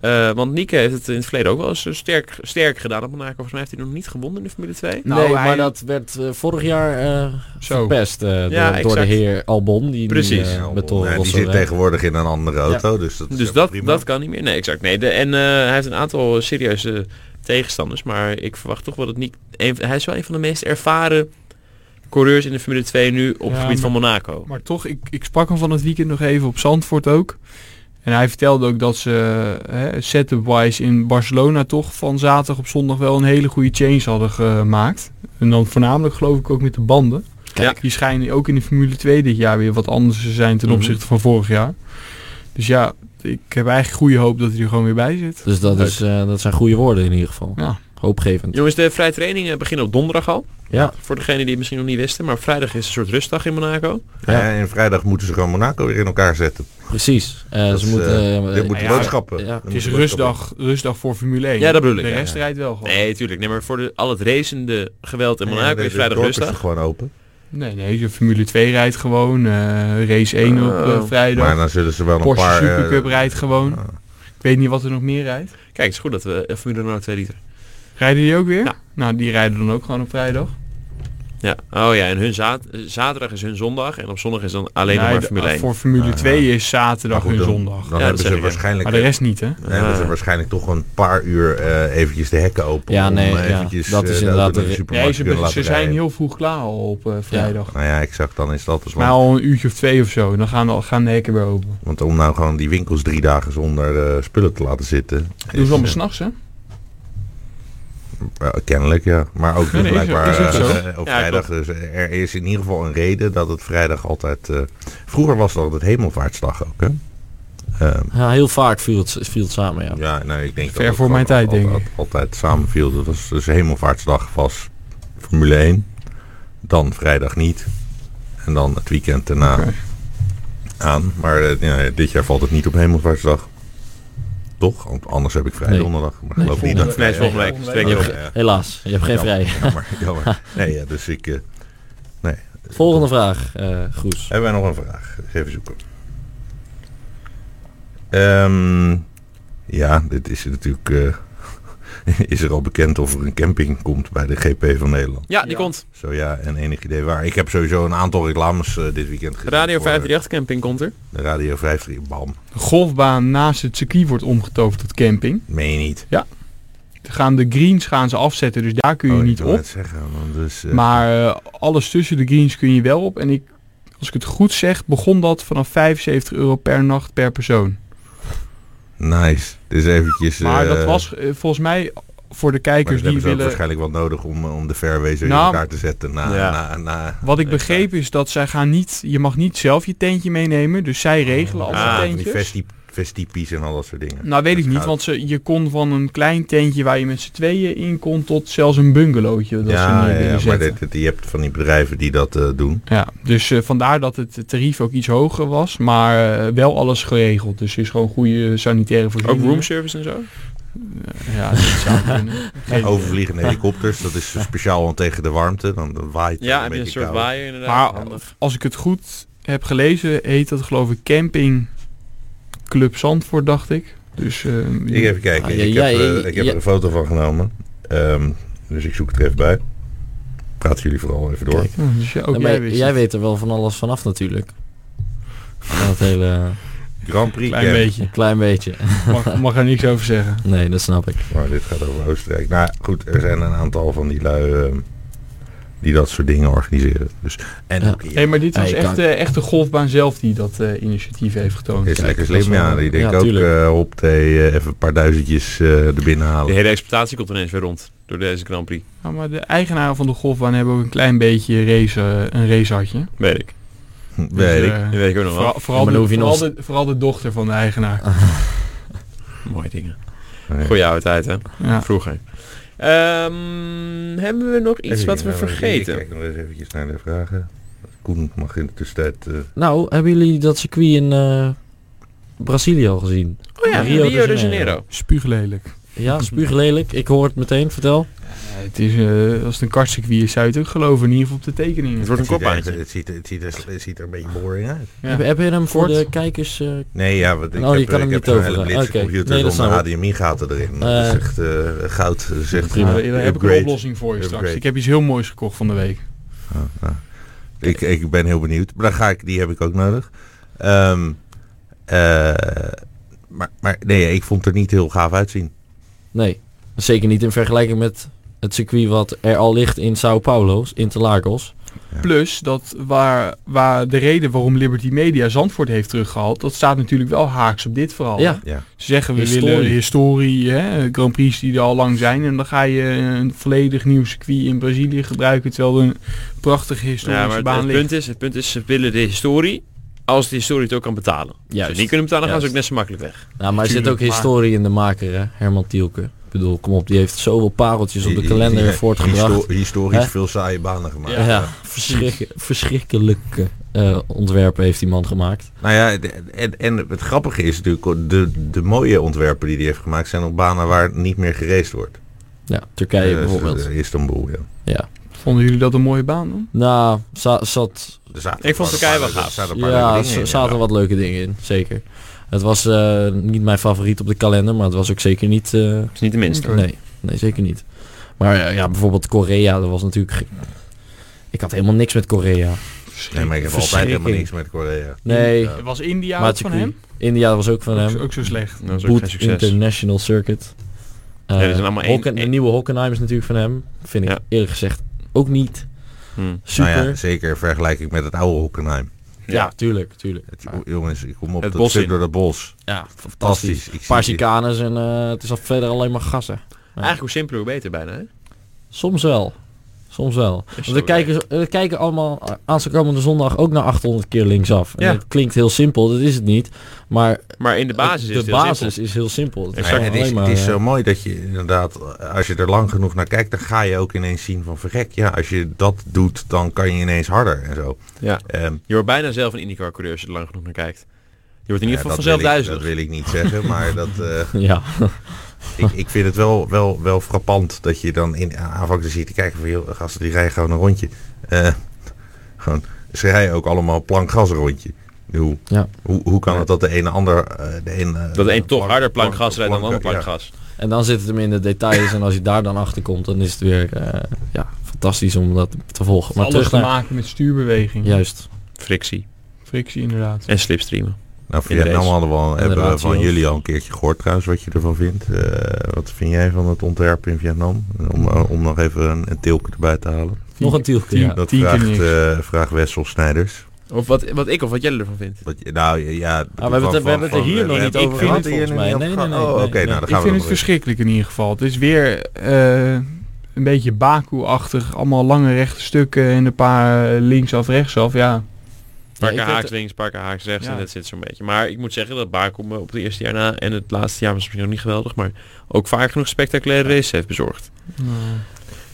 Speaker 1: Eh, want Nieke heeft het in het verleden ook wel eens eh, sterk, sterk gedaan op Monaco. Volgens mij heeft hij nog niet gewonnen in de Formule 2.
Speaker 3: Nou,
Speaker 2: nee,
Speaker 3: hij-
Speaker 2: maar dat werd eh, vorig jaar
Speaker 4: Oh.
Speaker 2: eh
Speaker 3: Zo.
Speaker 2: verpest eh, door,
Speaker 1: Ja,
Speaker 2: door de
Speaker 1: exact.
Speaker 2: heer Albon. Die
Speaker 1: Precies.
Speaker 2: Nu, eh,
Speaker 4: Ja,
Speaker 2: met Toro
Speaker 4: die
Speaker 2: Rosso
Speaker 4: zit
Speaker 2: rijdt.
Speaker 4: tegenwoordig in een andere auto, dus dat is
Speaker 1: Dus
Speaker 4: helemaal
Speaker 1: dat,
Speaker 4: prima.
Speaker 1: dat kan niet meer. Nee, exact. Nee. De, en eh, hij heeft een aantal serieuze tegenstanders. Maar ik verwacht toch wel dat niet... Een, hij is wel een van de meest ervaren coureurs in de Formule 2 nu op
Speaker 3: Ja,
Speaker 1: het gebied
Speaker 3: maar-
Speaker 1: van Monaco.
Speaker 3: Maar toch, ik, ik sprak hem van het weekend nog even op Zandvoort ook. En hij vertelde ook dat ze hè, setup-wise in Barcelona toch van zaterdag op zondag wel een hele goede change hadden gemaakt. En dan voornamelijk geloof ik ook met de banden.
Speaker 1: Kijk.
Speaker 3: Die schijnen ook in de Formule 2 dit jaar weer wat anders te zijn ten
Speaker 1: Mhm.
Speaker 3: opzichte van vorig jaar. Dus ja, ik heb eigenlijk goede hoop dat hij er gewoon weer bij zit.
Speaker 2: Dus dat,
Speaker 1: Leuk.
Speaker 2: is, eh, dat zijn goede woorden in ieder geval.
Speaker 3: Ja.
Speaker 2: Hoopgevend.
Speaker 1: Jongens, de vrije trainingen beginnen op donderdag al.
Speaker 2: Ja.
Speaker 1: Voor degenen die het misschien nog niet wisten. Maar vrijdag is een soort rustdag in Monaco.
Speaker 2: Ja.
Speaker 4: Ja, en vrijdag moeten ze gewoon Monaco weer in elkaar zetten.
Speaker 2: Precies. Eh,
Speaker 4: Dat
Speaker 2: ze
Speaker 4: is,
Speaker 2: moeten...
Speaker 4: eh,
Speaker 2: eh,
Speaker 4: Dit moet
Speaker 3: ja,
Speaker 4: boodschappen.
Speaker 2: ja.
Speaker 4: Dit
Speaker 2: Het
Speaker 3: Het
Speaker 4: moeten
Speaker 3: is
Speaker 4: boodschappen.
Speaker 3: rustdag, rustdag voor Formule 1.
Speaker 1: Ja, dat bedoel ik,
Speaker 3: De
Speaker 1: ja,
Speaker 3: rest
Speaker 4: ja.
Speaker 3: rijdt wel gewoon.
Speaker 1: Nee, tuurlijk. Nee, maar voor de, al het racende geweld in
Speaker 4: Ja,
Speaker 1: Monaco
Speaker 4: nee,
Speaker 1: is
Speaker 4: de
Speaker 1: vrijdag
Speaker 4: dorp is
Speaker 1: rustdag.
Speaker 4: gewoon open.
Speaker 3: Nee, nee, de Formule 2 rijdt gewoon. eh, race 1 op eh,
Speaker 1: Oh.
Speaker 3: vrijdag.
Speaker 4: Maar dan zullen ze wel
Speaker 3: Porsche
Speaker 4: een paar... eh,
Speaker 3: Supercup rijdt gewoon.
Speaker 4: ah.
Speaker 3: Ik weet niet wat er nog meer rijdt.
Speaker 1: Kijk, het is goed dat we eh, Formule 1 nou 2 liter.
Speaker 3: Rijden die ook weer?
Speaker 1: Ja.
Speaker 3: Nou, die rijden dan ook gewoon op vrijdag.
Speaker 1: Ja. Oh ja, en hun za- zaterdag is hun zondag. En op zondag is dan alleen nog
Speaker 3: Nee,
Speaker 1: maar
Speaker 3: de-
Speaker 4: ah,
Speaker 1: Formule 1.
Speaker 3: Nou, eh, Voor Formule
Speaker 4: Ja,
Speaker 3: 2 is
Speaker 4: Maar
Speaker 3: zaterdag
Speaker 4: nou goed,
Speaker 3: en
Speaker 4: dan-
Speaker 3: zondag.
Speaker 4: Dan
Speaker 1: Ja, dat
Speaker 4: hebben
Speaker 1: zeg ik,
Speaker 4: ze
Speaker 1: ja.
Speaker 4: waarschijnlijk...
Speaker 3: Maar de rest niet, hè?
Speaker 4: dan hebben ze
Speaker 1: Ah.
Speaker 4: waarschijnlijk toch een paar uur eh, eventjes de hekken open.
Speaker 2: Ja,
Speaker 4: om,
Speaker 2: nee,
Speaker 4: eh,
Speaker 2: ja.
Speaker 4: eventjes,
Speaker 2: Dat
Speaker 4: eh,
Speaker 2: is
Speaker 4: de
Speaker 2: inderdaad
Speaker 4: auto
Speaker 2: de-
Speaker 4: naar de
Speaker 3: Nee,
Speaker 4: supermarkt
Speaker 3: ze,
Speaker 4: te kunnen
Speaker 3: be- ze
Speaker 4: laten
Speaker 3: zijn
Speaker 4: rijden.
Speaker 3: heel vroeg klaar al op eh, vrijdag.
Speaker 4: Nou ja, exact. Dan is dat dus
Speaker 3: Maar
Speaker 4: lang.
Speaker 3: al een uurtje of twee of zo. Dan gaan, al- gaan de hekken weer open.
Speaker 4: Want om nou gewoon die winkels drie dagen zonder eh, spullen te laten zitten...
Speaker 3: Doen
Speaker 4: is,
Speaker 3: ze allemaal
Speaker 4: eh,
Speaker 3: s'nachts, hè?
Speaker 4: Ja, eh, kennelijk, ja. Maar ook
Speaker 3: Nee,
Speaker 4: dus
Speaker 3: nee, is-
Speaker 4: blijkbaar
Speaker 3: is het zo?
Speaker 4: eh, eh, op
Speaker 1: Ja,
Speaker 4: vrijdag. Dus er is in ieder geval een reden dat het vrijdag altijd... eh, vroeger was het altijd hemelvaartsdag ook, hè? Ehm,
Speaker 2: Ja, heel vaak viel het, viel het samen, ja.
Speaker 4: ja, nee, ik denk
Speaker 3: Ver
Speaker 4: dat het
Speaker 3: voor mijn
Speaker 4: gewoon
Speaker 3: tijd, denk
Speaker 4: altijd, altijd samenviel. Dat was dus hemelvaartsdag was Formule 1. Dan vrijdag niet. En dan het weekend daarna
Speaker 3: Oké.
Speaker 4: aan. Maar eh, ja, dit jaar valt het niet op hemelvaartsdag. Toch? Want anders heb ik vrij
Speaker 2: Nee.
Speaker 4: donderdag. Maar
Speaker 2: Nee,
Speaker 4: geloof niet
Speaker 2: volgende-
Speaker 4: dat ik
Speaker 1: Nee,
Speaker 4: vrij heb.
Speaker 1: volgende week. is
Speaker 4: Ja,
Speaker 1: twee keer.
Speaker 4: Oh, ja, ja.
Speaker 2: Helaas, je hebt geen
Speaker 4: Jammer,
Speaker 2: vrij.
Speaker 4: Jammer, jammer. Nee, ja, dus ik... eh, nee.
Speaker 2: Volgende vraag, eh Groes.
Speaker 4: Hebben wij nog een vraag? Even zoeken. Ehm, ja, dit is natuurlijk... eh, is er al bekend of er een camping komt bij de GP van Nederland?
Speaker 1: Ja, die
Speaker 3: Ja.
Speaker 1: komt.
Speaker 4: Zo ja, en enig idee waar. Ik heb sowieso een aantal reclames eh, dit weekend gezien.
Speaker 1: Radio
Speaker 4: voor, eh,
Speaker 1: 538 camping komt er.
Speaker 4: De Radio 538, bam.
Speaker 3: De golfbaan naast het circuit wordt omgetoverd tot camping.
Speaker 4: Meen je niet.
Speaker 3: Ze gaan de greens gaan ze afzetten, dus daar kun je
Speaker 4: Oh, ik
Speaker 3: niet
Speaker 4: wou
Speaker 3: op.
Speaker 4: net zeggen, want dus, eh,
Speaker 3: Maar eh, alles tussen de greens kun je wel op. En ik, als ik het goed zeg, begon dat vanaf 75 euro per nacht per persoon.
Speaker 4: Nice. Dus eventjes...
Speaker 3: Maar dat
Speaker 4: eh,
Speaker 3: was eh, volgens mij voor de
Speaker 4: Maar dat
Speaker 3: kijkers die
Speaker 4: hebben ze ook
Speaker 3: willen...
Speaker 4: waarschijnlijk wel nodig om, eh, om de fairways weer in
Speaker 3: Nou,
Speaker 4: elkaar te zetten. Na,
Speaker 1: ja.
Speaker 4: na, na,
Speaker 3: Wat ik
Speaker 4: Extra.
Speaker 3: begreep is dat zij gaan niet... Je mag niet zelf je tentje meenemen, dus zij regelen al
Speaker 1: Ah,
Speaker 3: de
Speaker 1: van
Speaker 4: die
Speaker 3: tentjes.
Speaker 4: vesti- vestipies en al dat soort dingen.
Speaker 3: Nou weet ik
Speaker 4: Dat
Speaker 3: niet,
Speaker 4: gaat.
Speaker 3: want ze, je kon van een klein tentje waar je met z'n tweeën in kon... tot zelfs een bungalowtje dat eh, ze
Speaker 4: ja,
Speaker 3: neer
Speaker 2: eh,
Speaker 4: ja,
Speaker 3: willen
Speaker 4: ja, maar
Speaker 3: zetten.
Speaker 4: dit, dit- je hebt van die bedrijven die dat eh, doen.
Speaker 3: Ja, dus eh, vandaar dat het tarief ook iets hoger was, maar eh, wel alles geregeld. Dus er is gewoon goede sanitaire
Speaker 1: Ook
Speaker 3: voorziening.
Speaker 1: roomservice en zo.
Speaker 3: Ja, dat zou kunnen. Geen idee.
Speaker 4: Overvliegende helikopters, dat is speciaal want tegen de warmte. Dan dan waait het
Speaker 1: Ja,
Speaker 4: een
Speaker 1: heb je een
Speaker 4: beetje
Speaker 1: soort
Speaker 4: koud.
Speaker 1: waaier inderdaad.
Speaker 3: Maar-
Speaker 1: Handig.
Speaker 3: Als ik het goed heb gelezen, heet dat geloof ik Camping Club Zandvoort, dacht ik. Dus eh,
Speaker 4: Ik even kijken,
Speaker 2: Ah,
Speaker 4: ik,
Speaker 2: jij-
Speaker 4: heb, eh,
Speaker 2: jij-
Speaker 4: ik heb
Speaker 2: jij-
Speaker 4: er een foto van genomen. Ehm, dus ik zoek het er even bij. Praten jullie vooral even door.
Speaker 3: ja, dus ja, ook
Speaker 2: Ja, maar
Speaker 3: jij wist
Speaker 2: jij
Speaker 3: het.
Speaker 2: weet er wel van alles vanaf natuurlijk. Van het hele...
Speaker 4: Grand Prix
Speaker 3: Klein
Speaker 4: Camp.
Speaker 3: beetje.
Speaker 2: Een klein beetje.
Speaker 3: Mag, mag er niks over zeggen.
Speaker 2: Nee, dat snap ik.
Speaker 4: Maar dit gaat over Oostenrijk. Nou goed, er zijn een aantal van die lui ehm, die dat soort dingen organiseren. Dus, en
Speaker 2: Ja.
Speaker 4: ook hier.
Speaker 3: Nee, maar dit was
Speaker 2: Ja, je
Speaker 3: echt,
Speaker 2: kan-
Speaker 3: eh, echt de golfbaan zelf die dat eh, initiatief heeft getoond.
Speaker 4: Is
Speaker 2: Kijk,
Speaker 4: lekker
Speaker 2: dat is
Speaker 4: slim,
Speaker 2: wel-
Speaker 4: ja. Die denkt
Speaker 2: ja,
Speaker 4: ook,
Speaker 2: tuurlijk.
Speaker 4: eh hop, thee, eh, even een paar duizendjes eh er binnen
Speaker 1: De
Speaker 4: halen.
Speaker 1: hele exploitatie komt ineens weer rond. Door deze Grand Prix.
Speaker 3: Ja, maar de eigenaren van de golfbaan hebben ook een klein beetje race, eh, een racehartje.
Speaker 1: Weet ik.
Speaker 4: Weet
Speaker 3: Dus,
Speaker 4: ik.
Speaker 3: eh,
Speaker 1: Dat weet ik ook nog wel.
Speaker 3: Vooral, vooral,
Speaker 2: maar dan
Speaker 3: de,
Speaker 2: hoef je
Speaker 3: vooral,
Speaker 2: nog-
Speaker 3: de, vooral de dochter van de eigenaar.
Speaker 1: Mooie dingen.
Speaker 4: Nee.
Speaker 1: Goeie oude tijd, hè?
Speaker 3: Ja.
Speaker 1: Vroeger. Ehm, hebben we nog iets
Speaker 4: Even
Speaker 1: wat we
Speaker 4: kijken, nou, Ik
Speaker 1: vergeten?
Speaker 4: kijk nog eens eventjes naar de vragen. Koen mag in de tussentijd... eh,
Speaker 2: Nou, hebben jullie dat circuit in eh, Brazilië al gezien?
Speaker 1: Oh ja, Rio, de Janeiro.
Speaker 3: Spuuglelijk.
Speaker 2: Ja, spuuglelijk. Ik hoor het meteen, vertel.
Speaker 3: het is, eh, als het een kartcircuit is, zou je het ook geloven. In ieder geval op de
Speaker 1: Het
Speaker 3: tekeningen.
Speaker 1: wordt een
Speaker 4: het ziet er-
Speaker 1: kopbaantje.
Speaker 4: Het ziet, er- het, ziet er, het ziet er een beetje boring uit.
Speaker 3: Ja.
Speaker 2: Heb, heb je hem voor
Speaker 3: Kort.
Speaker 2: de kijkers... eh,
Speaker 4: Nee, ja, want ik
Speaker 2: Oh, je
Speaker 4: heb,
Speaker 2: kan hem
Speaker 4: ik
Speaker 2: niet
Speaker 4: heb een hele
Speaker 2: toveren.
Speaker 4: blitse
Speaker 2: Oké.
Speaker 4: computer
Speaker 2: Nee, dat
Speaker 4: zonder
Speaker 2: snap ik.
Speaker 4: HDMI-gaten erin. dat
Speaker 2: Eh.
Speaker 4: is echt eh, goud. Dat is echt
Speaker 2: Prima.
Speaker 4: een
Speaker 3: Daar heb ik een
Speaker 4: upgrade.
Speaker 3: oplossing voor je straks.
Speaker 4: Upgrade.
Speaker 3: Ik heb iets heel moois gekocht van de week.
Speaker 4: Ah, ah. Ik, ik ben heel benieuwd. Maar dan ga ik, die heb ik ook nodig. Ehm, eh, maar, maar nee, ik vond het er niet heel gaaf uitzien.
Speaker 2: Nee, zeker niet in vergelijking met het circuit wat er al ligt in Sao Paulo, Interlagos.
Speaker 4: Ja.
Speaker 3: Plus dat waar, waar de reden waarom Liberty Media Zandvoort heeft teruggehaald, dat staat natuurlijk wel haaks op dit verhaal.
Speaker 2: Ja.
Speaker 3: hè?
Speaker 4: Ja.
Speaker 3: Ze zeggen we
Speaker 2: Historie.
Speaker 3: willen historie, hè, Grand Prix die er al lang zijn. En dan ga je een volledig nieuw circuit in Brazilië gebruiken, terwijl er een prachtige historische
Speaker 1: Ja, maar het,
Speaker 3: baan
Speaker 1: het
Speaker 3: ligt.
Speaker 1: punt is, het punt is, ze willen de historie, als de historie het ook kan betalen. Als ze het
Speaker 2: Juist.
Speaker 1: niet kunnen betalen, gaan ze ook
Speaker 2: Juist.
Speaker 1: net zo makkelijk weg.
Speaker 2: Nou, maar er zit ook
Speaker 3: Tuurlijk, maar-
Speaker 2: historie in de maker, hè? Herman Tielke. Ik bedoel, kom op, die heeft zoveel pareltjes Dus op de
Speaker 4: Die-
Speaker 2: kalender
Speaker 4: die-
Speaker 2: voortgebracht.
Speaker 4: histo- historisch
Speaker 2: Hè?
Speaker 4: veel saaie banen gemaakt.
Speaker 2: Ja, verschrik- verschrikkelijke eh, ontwerpen heeft die man gemaakt.
Speaker 4: Nou ja, de- en, en het grappige is natuurlijk, de, de mooie ontwerpen die hij heeft gemaakt zijn op banen waar niet meer gereisd wordt.
Speaker 2: Ja, Turkije
Speaker 4: Eh,
Speaker 2: bijvoorbeeld.
Speaker 4: eh, Istanbul, ja.
Speaker 3: Vonden jullie dat een mooie baan dan?
Speaker 2: Nou, za- zat,
Speaker 4: Er zaten
Speaker 1: Ik vond
Speaker 4: een
Speaker 1: Turkije
Speaker 4: paar-
Speaker 1: wel
Speaker 4: er
Speaker 1: gaaf.
Speaker 4: zaten een paar leuke
Speaker 2: ja,
Speaker 4: dingen
Speaker 2: za-
Speaker 4: in,
Speaker 2: zaten
Speaker 4: ja.
Speaker 2: wat leuke dingen in, zeker. Het was eh, niet mijn favoriet op de kalender, maar het was ook zeker niet... eh,
Speaker 1: Dat is niet de minste.
Speaker 3: Oké.
Speaker 2: nee, nee, zeker niet. Maar eh, ja, ja, bijvoorbeeld Korea, dat was natuurlijk... ge- Ik had helemaal niks met Korea.
Speaker 4: Nee, maar ik heb altijd helemaal
Speaker 2: Verschrikking.
Speaker 4: niks met Korea.
Speaker 2: Nee,
Speaker 4: Ja.
Speaker 3: Was India
Speaker 2: Maar
Speaker 3: ook
Speaker 2: het
Speaker 3: van
Speaker 2: circuit
Speaker 3: hem?
Speaker 2: India was ook van
Speaker 3: Ook,
Speaker 2: hem.
Speaker 3: zo- ook zo slecht.
Speaker 1: Dat is ook geen
Speaker 2: Boot
Speaker 1: succes.
Speaker 2: International Circuit. Eh,
Speaker 1: Ja, er zijn allemaal één-
Speaker 2: Hocken- De
Speaker 1: één-
Speaker 2: nieuwe Hockenheim is natuurlijk van hem. Vind ik
Speaker 1: Ja.
Speaker 2: eerlijk gezegd ook niet
Speaker 1: Hm.
Speaker 2: super.
Speaker 4: Nou ja,
Speaker 2: ja.
Speaker 4: zeker in vergelijking met het oude Hockenheim.
Speaker 1: Ja.
Speaker 2: tuurlijk, tuurlijk.
Speaker 4: Het,
Speaker 2: Maar,
Speaker 4: jongens, ik kom op
Speaker 1: Het
Speaker 4: dat
Speaker 1: bos
Speaker 4: stuk
Speaker 1: in.
Speaker 4: door dat bos.
Speaker 2: ja, fantastisch.
Speaker 4: Fantastisch. Ik
Speaker 2: Een paar
Speaker 4: zie-
Speaker 2: chicanes en eh, het is al verder alleen maar gassen.
Speaker 1: Eigenlijk hoe simpeler, hoe beter bijna. Hè?
Speaker 2: Soms wel. Soms wel. Want we
Speaker 1: zo
Speaker 2: kijken, zo- we kijken allemaal eh, aanstaande zondag ook naar 800 keer linksaf. En
Speaker 1: Ja.
Speaker 2: dat klinkt heel simpel, dat is het niet. Maar
Speaker 1: Maar in de basis is
Speaker 2: de
Speaker 1: het heel
Speaker 2: basis
Speaker 1: simpel.
Speaker 2: is heel simpel. Het
Speaker 4: Nou
Speaker 2: gewoon
Speaker 4: ja, het, is,
Speaker 2: alleen maar,
Speaker 4: het is
Speaker 2: eh,
Speaker 4: zo mooi dat je inderdaad, eh, als je er lang genoeg naar kijkt, dan ga je ook ineens zien van verrek. Ja, als je dat doet, dan kan je ineens harder en zo.
Speaker 1: Ja.
Speaker 4: Ehm,
Speaker 1: Je wordt bijna zelf een IndyCar-coureur als je er lang genoeg naar kijkt. Je wordt in ieder
Speaker 4: ja,
Speaker 1: geval
Speaker 4: dat
Speaker 1: vanzelf
Speaker 4: wil ik- Dat
Speaker 1: duizelig.
Speaker 4: wil ik niet zeggen, maar dat, eh,
Speaker 2: Ja,
Speaker 4: ik, ik vind het wel, wel, wel frappant dat je dan in aanvang ziet te kijken van joh, gasten die rijden gewoon een rondje. Eh, gewoon, ze rijden ook allemaal plank gas een rondje. Hoe,
Speaker 2: Ja.
Speaker 4: hoe, hoe kan het dat de ene ander... eh, de ene, eh,
Speaker 1: Dat de een toch harder plank gas rijdt dan de ander
Speaker 4: plank-
Speaker 1: plank gas.
Speaker 2: En dan zit het hem in de details en als je daar dan achter komt, dan is het weer eh, ja, fantastisch om dat te volgen. Maar
Speaker 3: Maar Alles
Speaker 2: terug
Speaker 3: te
Speaker 2: naar...
Speaker 3: maken met stuurbeweging.
Speaker 2: Juist.
Speaker 1: Frictie.
Speaker 3: Frictie inderdaad.
Speaker 1: En slipstreamen.
Speaker 4: Nou,
Speaker 1: in de
Speaker 4: Vietnam
Speaker 1: race.
Speaker 4: hadden we al, hebben we
Speaker 2: ratio.
Speaker 4: van jullie al een keertje gehoord trouwens wat je ervan vindt. Eh, wat vind jij van het ontwerp in Vietnam? Om, eh, om nog even een, een tilke erbij te halen.
Speaker 2: Nog een tielke, ja.
Speaker 4: Dat
Speaker 3: tien keer
Speaker 4: vraagt,
Speaker 3: niks.
Speaker 4: eh vraagt Wessel Snijders.
Speaker 1: Of wat, wat ik of wat jij ervan vindt.
Speaker 4: Wat je- nou ja, ja,
Speaker 2: Ah, we hebben het- we hebben het er hier nog niet
Speaker 4: hebben-
Speaker 2: over
Speaker 4: ik
Speaker 2: gehad,
Speaker 4: vind het hier
Speaker 2: volgens
Speaker 4: niet
Speaker 2: mij.
Speaker 4: over
Speaker 2: Nee, nee,
Speaker 4: gehad.
Speaker 2: nee,
Speaker 4: Oh,
Speaker 2: nee,
Speaker 4: Oké,
Speaker 2: nee.
Speaker 4: nou dan
Speaker 3: Ik
Speaker 4: gaan we
Speaker 3: vind het
Speaker 4: nog eens.
Speaker 3: verschrikkelijk in ieder geval. Het is weer eh, een beetje Baku-achtig. Allemaal lange rechte stukken en een paar eh, linksaf, rechtsaf. Ja,
Speaker 1: Paar
Speaker 2: ik
Speaker 1: keer
Speaker 2: vind
Speaker 1: haaks
Speaker 2: het-
Speaker 1: links, paar keer haaks rechts
Speaker 3: Ja.
Speaker 1: en dat zit zo'n beetje. Maar ik moet zeggen dat Baku me op het eerste jaar na en het laatste jaar was misschien nog niet geweldig, maar ook vaak genoeg spectaculaire races heeft bezorgd.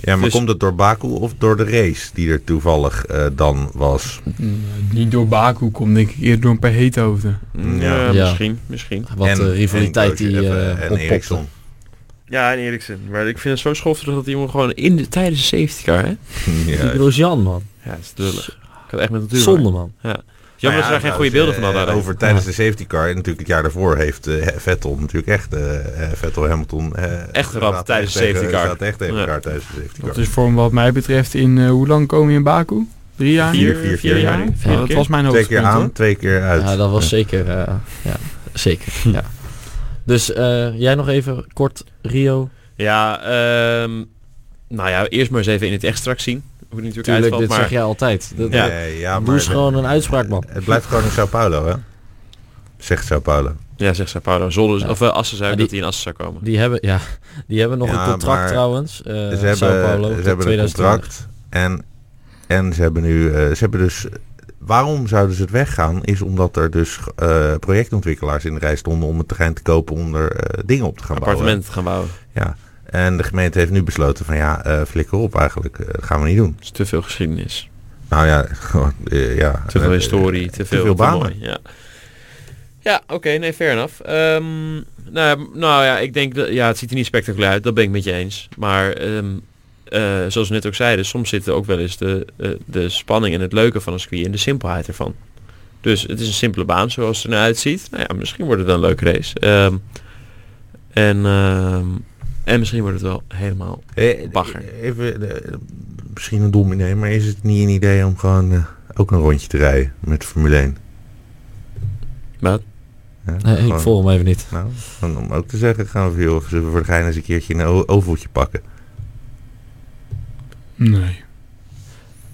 Speaker 4: Ja, maar
Speaker 1: Dus-
Speaker 4: komt het door Baku of door de race die er toevallig eh, dan was?
Speaker 3: Mm, niet door Baku komt denk ik eerder door een paar heethoofden.
Speaker 4: Ja.
Speaker 1: ja.
Speaker 2: Mm, Ja.
Speaker 1: misschien, misschien.
Speaker 2: Wat
Speaker 4: En-
Speaker 2: de rivaliteit
Speaker 4: en,
Speaker 2: die
Speaker 4: Koosje, even-
Speaker 2: eh
Speaker 4: en
Speaker 2: oppopte.
Speaker 4: Eriksson.
Speaker 1: Ja, en Eriksen. Maar ik vind het zo schoftig dat die jongen gewoon in de, tijdens de safety car, hè?
Speaker 2: Die
Speaker 4: Ja,
Speaker 2: Grosjean, man.
Speaker 1: Ja, dat is lullig. Ik had echt met natuurlijk.
Speaker 2: Zonde, man.
Speaker 1: Jammer
Speaker 4: Nou
Speaker 1: dat ze daar
Speaker 4: ja,
Speaker 1: geen goede
Speaker 4: trouwens,
Speaker 1: beelden van
Speaker 4: eh,
Speaker 1: hadden.
Speaker 4: Over tijdens de safety car en natuurlijk het jaar daarvoor heeft eh, Vettel natuurlijk echt, eh, eh, Vettel Hamilton... eh,
Speaker 1: Echt gerabd
Speaker 4: staat
Speaker 1: tijdens de
Speaker 4: echt tegen-
Speaker 1: safety car.
Speaker 4: Staat echt tegen
Speaker 1: Ja.
Speaker 4: elkaar tijdens de safety
Speaker 3: Dat
Speaker 4: car.
Speaker 3: is voor hem wat mij betreft in, eh, hoe lang komen we in Baku? Drie jaar?
Speaker 4: Vier, vier, vier
Speaker 3: jaar?
Speaker 1: jaar.
Speaker 3: Ja, dat was mijn
Speaker 4: twee
Speaker 3: hoogtepunt.
Speaker 4: keer
Speaker 3: hoor.
Speaker 4: aan, twee keer uit.
Speaker 2: Ja, dat was zeker. eh, ja, zeker. ja. Dus eh, jij nog even kort, Rio.
Speaker 1: Ja, ehm, nou ja, eerst maar eens even in het echt straks zien. Hoe die natuurlijk
Speaker 2: Tuurlijk, dit
Speaker 1: uitvalt, maar...
Speaker 2: zeg jij altijd. Dat,
Speaker 1: Ja.
Speaker 4: Nee, ja,
Speaker 2: Doe eens gewoon een uitspraak, man.
Speaker 4: Het blijft gewoon in Sao Paulo, hè? Zegt Sao Paulo.
Speaker 1: Ja, zegt Sao Paulo. Zolder,
Speaker 2: Ja.
Speaker 1: Of eh, Assen zou
Speaker 2: Ja,
Speaker 1: ik
Speaker 2: die-
Speaker 1: dat hij in Assen zou komen.
Speaker 2: Die hebben, ja, die hebben nog
Speaker 4: Ja,
Speaker 2: een contract
Speaker 4: maar
Speaker 2: trouwens. eh
Speaker 4: ze hebben,
Speaker 2: Sao Paulo, tot
Speaker 4: ze hebben een
Speaker 2: 2020.
Speaker 4: contract en, en ze hebben nu... eh, ze hebben dus... Waarom zouden ze het weggaan? Is omdat er dus eh, projectontwikkelaars in de rij stonden om het terrein te kopen om er eh, dingen op te gaan bouwen.
Speaker 1: Appartement gaan bouwen.
Speaker 4: Ja. En de gemeente heeft nu besloten van ja, eh, flikker op eigenlijk. Eh, dat gaan we niet doen.
Speaker 1: Dat is te veel geschiedenis.
Speaker 4: Nou ja, gewoon, eh, ja.
Speaker 1: Te veel
Speaker 4: Eh,
Speaker 1: historie, te veel,
Speaker 4: veel
Speaker 1: te mooi,
Speaker 4: banen.
Speaker 1: ja, ja oké, nee, fair enough. Ehm, nou, ja, nou ja, ik denk dat ja, het ziet er niet spectaculair uit, dat ben ik met je eens. Maar ehm, eh, zoals we net ook zeiden, soms zitten ook wel eens de, eh, de spanning en het leuke van een circuit en de simpelheid ervan. Dus het is een simpele baan zoals het er nou uitziet. Nou ja, misschien wordt het wel een leuke race. Ehm, en, ehm, en misschien wordt het wel helemaal
Speaker 4: eh,
Speaker 1: Bagger.
Speaker 4: Even, eh, misschien een dominee, maar is het niet een idee om gewoon eh, ook een rondje te rijden met Formule 1?
Speaker 1: Wat?
Speaker 4: Ja,
Speaker 2: Nee, ik
Speaker 4: gewoon-
Speaker 2: volg hem even niet.
Speaker 4: Nou, dan om ook te zeggen, gaan we veel of zullen we voor de gein eens een keertje een o- ovaltje pakken.
Speaker 3: Nee.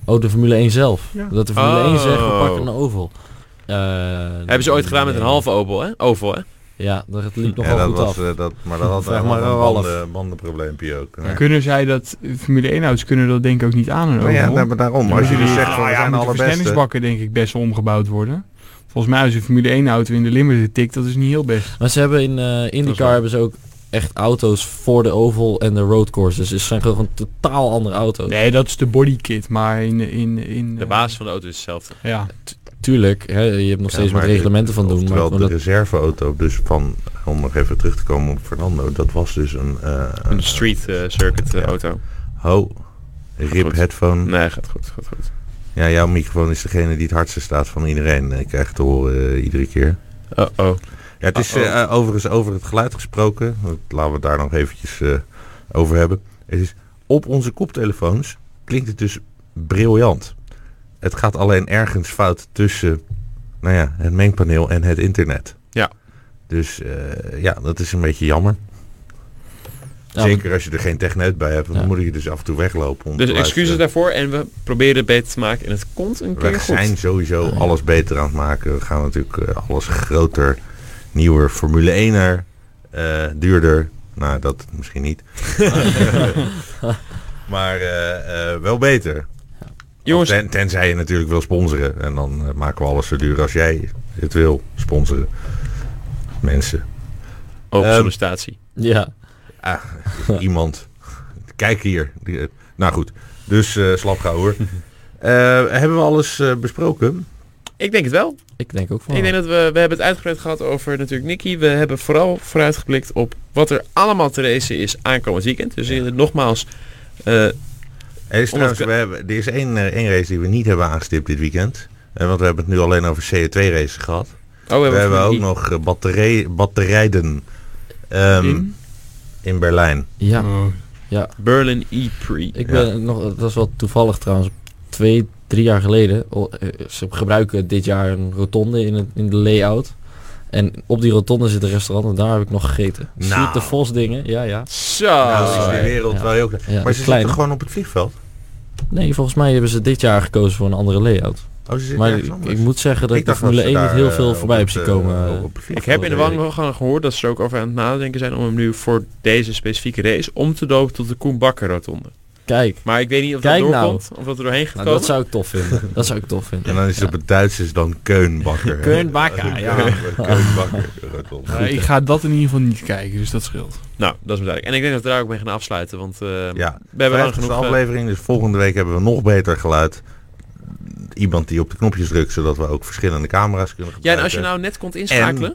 Speaker 2: Oh, de Formule 1 zelf.
Speaker 3: Ja.
Speaker 2: Dat de Formule
Speaker 1: Oh.
Speaker 2: 1 zegt, we pakken een oval. Eh,
Speaker 1: Hebben ze ooit gedaan met een
Speaker 2: nee.
Speaker 1: halve oval, hè? Oval, hè?
Speaker 2: Ja, dat liep
Speaker 4: Ja,
Speaker 2: nogal
Speaker 4: dat
Speaker 2: goed
Speaker 4: was,
Speaker 2: af.
Speaker 4: eh, dat, maar dat had
Speaker 2: Vraag
Speaker 4: wel
Speaker 2: maar
Speaker 4: een
Speaker 2: aan Ralf.
Speaker 4: banden, bandenprobleempje ook. Ja.
Speaker 3: Kunnen zij dat, Formule 1-ouds kunnen dat denk ik ook niet aan een
Speaker 4: Maar ja,
Speaker 3: oval.
Speaker 4: nou, maar daarom. Als jullie
Speaker 3: Ja,
Speaker 4: zeggen van
Speaker 3: nou
Speaker 4: we
Speaker 3: ja,
Speaker 4: zijn
Speaker 3: moeten
Speaker 4: alle beste.
Speaker 3: versnellingsbakken denk ik best wel omgebouwd worden. Volgens mij als een Formule 1-auto in de Limburg tikt, dat is niet heel best.
Speaker 2: Maar ze hebben in eh
Speaker 1: Dat is wel-
Speaker 2: IndyCar hebben ze ook echt auto's voor de oval en de road courses. Dus het zijn gewoon totaal andere auto's.
Speaker 3: Nee, dat is de bodykit, maar in... in, in
Speaker 1: De
Speaker 3: eh,
Speaker 1: baas van de auto is hetzelfde.
Speaker 3: Ja.
Speaker 2: Tuurlijk, hè, je hebt nog steeds met
Speaker 4: maar
Speaker 2: reglementen van doen. Maar,
Speaker 4: Oftewel,
Speaker 2: maar
Speaker 4: de
Speaker 2: dat,
Speaker 4: reserveauto dus van, om nog even terug te komen op Fernando, dat was dus een... eh,
Speaker 1: Een street eh, circuit eh,
Speaker 4: Ja.
Speaker 1: auto.
Speaker 4: Ho, rip
Speaker 1: Goed.
Speaker 4: headphone.
Speaker 1: Nee, gaat goed, gaat goed.
Speaker 4: Ja, jouw microfoon is degene die het hardste staat van iedereen. Ik krijg het te horen eh, iedere keer.
Speaker 1: Oh-oh.
Speaker 4: Ja, het is
Speaker 1: Oh, oh.
Speaker 4: eh, eh, overigens over het geluid gesproken. Dat Laten we het daar nog eventjes eh, over hebben. Het is, op onze koptelefoons klinkt het dus briljant. Het gaat alleen ergens fout tussen nou ja, het mengpaneel en het internet.
Speaker 1: Ja.
Speaker 4: Dus eh, ja, dat is een beetje jammer.
Speaker 2: Ja,
Speaker 4: Zeker als je er geen techneut bij hebt, dan
Speaker 2: Ja.
Speaker 4: moet je dus af en toe weglopen. Om
Speaker 1: Dus
Speaker 4: te
Speaker 1: excuses
Speaker 4: luisteren.
Speaker 1: daarvoor en we proberen het beter te maken en het komt een keer
Speaker 4: We
Speaker 1: goed.
Speaker 4: zijn sowieso alles beter aan het maken. We gaan natuurlijk eh, alles groter, nieuwer, Formule 1er, eh, duurder. Nou, dat misschien niet. maar eh, eh, wel beter.
Speaker 1: Jongens,
Speaker 4: Ten- tenzij je natuurlijk wil sponsoren. En dan eh, maken we alles zo duur als jij het wil sponsoren. Mensen.
Speaker 1: oh,
Speaker 4: Ehm,
Speaker 1: sollicitatie.
Speaker 2: ja.
Speaker 4: Ah, iemand. Kijk hier. Die, eh, nou goed. Dus eh slap gauw hoor. Eh, hebben we alles eh, besproken?
Speaker 1: Ik denk het wel.
Speaker 2: ik denk ook van.
Speaker 1: Ik denk dat we, we hebben het uitgebreid gehad over natuurlijk Nicky. We hebben vooral vooruitgeblikt op wat er allemaal te racen is aankomend weekend. Dus in- nogmaals, eh,
Speaker 4: Er is,
Speaker 1: Omdat
Speaker 4: trouwens, we hebben, er is één, eh, één race die we niet hebben aangestipt dit weekend. Eh, want we hebben het nu alleen over CO2-races gehad.
Speaker 1: oh,
Speaker 4: We hebben ook
Speaker 1: Nicky.
Speaker 4: nog eh, batterij, batterijden ehm, in?
Speaker 3: in?
Speaker 4: Berlijn.
Speaker 2: Ja,
Speaker 3: Oh.
Speaker 1: Berlin E-Prix.
Speaker 2: Ik ben nog, dat is wel toevallig trouwens, twee, drie jaar geleden. o- eh, Ze gebruiken dit jaar een rotonde in, het, in de layout. En op die rotonde zit een restaurant en daar heb ik nog gegeten.
Speaker 4: Nou.
Speaker 2: Zie je de Vos dingen? Ja, ja.
Speaker 1: Zo.
Speaker 4: nou, dat is de
Speaker 2: Oh, ja.
Speaker 4: wereld
Speaker 2: Ja.
Speaker 4: waar je ook...
Speaker 2: ja
Speaker 4: maar
Speaker 2: dat kleine.
Speaker 4: ze zitten gewoon op het vliegveld.
Speaker 2: Nee, volgens mij hebben ze dit jaar gekozen voor een andere layout.
Speaker 4: Oh, ze zitten
Speaker 2: maar
Speaker 4: ergens
Speaker 2: ik,
Speaker 4: anders.
Speaker 2: ik moet zeggen dat ik de
Speaker 4: dacht
Speaker 2: Formule
Speaker 4: ze
Speaker 2: 1 niet
Speaker 4: daar,
Speaker 2: heel
Speaker 4: eh,
Speaker 2: veel
Speaker 4: op
Speaker 2: voorbij heb
Speaker 4: het,
Speaker 2: zien
Speaker 4: eh,
Speaker 2: komen.
Speaker 4: op het
Speaker 1: ik
Speaker 4: vliegveld
Speaker 1: heb in de
Speaker 4: reden.
Speaker 1: wang wel gaan gehoord dat ze er ook over aan het nadenken zijn om hem nu voor deze specifieke race om te dopen tot de Koen Bakker rotonde.
Speaker 2: Kijk,
Speaker 1: Maar ik weet niet of
Speaker 2: Kijk
Speaker 1: dat
Speaker 2: nou.
Speaker 1: doorkomt of dat er doorheen gaat
Speaker 2: nou,
Speaker 1: komen.
Speaker 2: dat zou ik tof vinden. dat zou ik tof
Speaker 4: En
Speaker 2: vinden.
Speaker 4: dan is het op het Duits is dan Keunbakker.
Speaker 2: Keunbakker, ja.
Speaker 4: Keunbakker. Rotterdam.
Speaker 3: Nou, ik ga dat in ieder geval niet kijken, dus dat scheelt.
Speaker 1: Nou, dat is me duidelijk. En ik denk dat we daar ook mee gaan afsluiten, want eh,
Speaker 4: Ja,
Speaker 1: we hebben lang genoeg...
Speaker 4: de
Speaker 1: eh,
Speaker 4: aflevering, dus volgende week hebben we nog beter geluid. Iemand die op de knopjes drukt, zodat we ook verschillende camera's kunnen
Speaker 1: ja, en
Speaker 4: gebruiken.
Speaker 1: als je nou net komt inschakelen...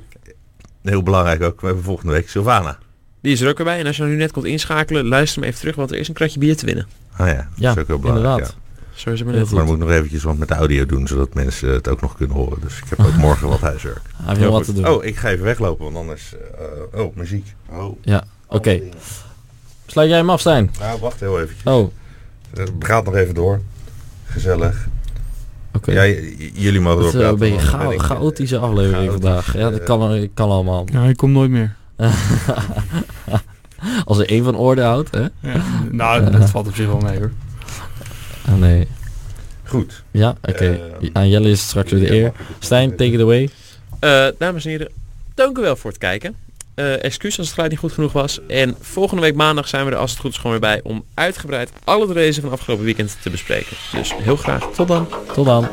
Speaker 4: Heel belangrijk ook, we hebben volgende week Sylvana.
Speaker 1: Die is er ook weer bij. En als je nou nu net komt inschakelen, luister me even terug, want er is een kratje bier te winnen.
Speaker 4: Ah ja, dat
Speaker 2: Ja,
Speaker 4: is ook heel belangrijk.
Speaker 2: inderdaad.
Speaker 4: ja.
Speaker 1: Zo is het maar
Speaker 2: Heel
Speaker 1: net.
Speaker 4: Maar dan moet ik nog eventjes wat met de audio doen, zodat mensen het ook nog kunnen horen. Dus ik heb ook morgen wat huiswerk.
Speaker 2: Hij heeft nog wat te doen.
Speaker 4: Oh, ik ga even weglopen, want anders... eh, oh, muziek. Oh,
Speaker 2: Ja, oké.
Speaker 4: andere dingen.
Speaker 2: Sluit jij hem af, Stijn?
Speaker 4: Nou, wacht heel eventjes.
Speaker 2: Oh, oké.
Speaker 4: Het gaat nog even door. Gezellig. Ja, j- j- jullie mogen
Speaker 2: Dat is wel
Speaker 4: doorpraten.
Speaker 2: een beetje
Speaker 4: want dan ben
Speaker 2: chao-
Speaker 4: ik, eh,
Speaker 2: chaotische aflevering
Speaker 4: chaotisch,
Speaker 2: vandaag. Ja, dat
Speaker 4: eh,
Speaker 2: kan, dat kan allemaal.
Speaker 3: Nou, ik kom nooit meer.
Speaker 2: Als er één van orde houdt, hè?
Speaker 3: Ja, nou, dat valt op zich wel mee hoor.
Speaker 2: Ah, nee.
Speaker 4: Goed.
Speaker 2: Ja, oké.
Speaker 4: Ehm,
Speaker 2: Aan Jelle is het straks weer de eer. Stijn, take it away.
Speaker 1: Eh, dames en heren, dank u wel voor het kijken. Eh excuus als het geluid niet goed genoeg was. En volgende week maandag zijn we er als het goed is gewoon weer bij om uitgebreid alle de races van afgelopen weekend te bespreken. Dus heel graag. Tot dan.
Speaker 2: Tot dan.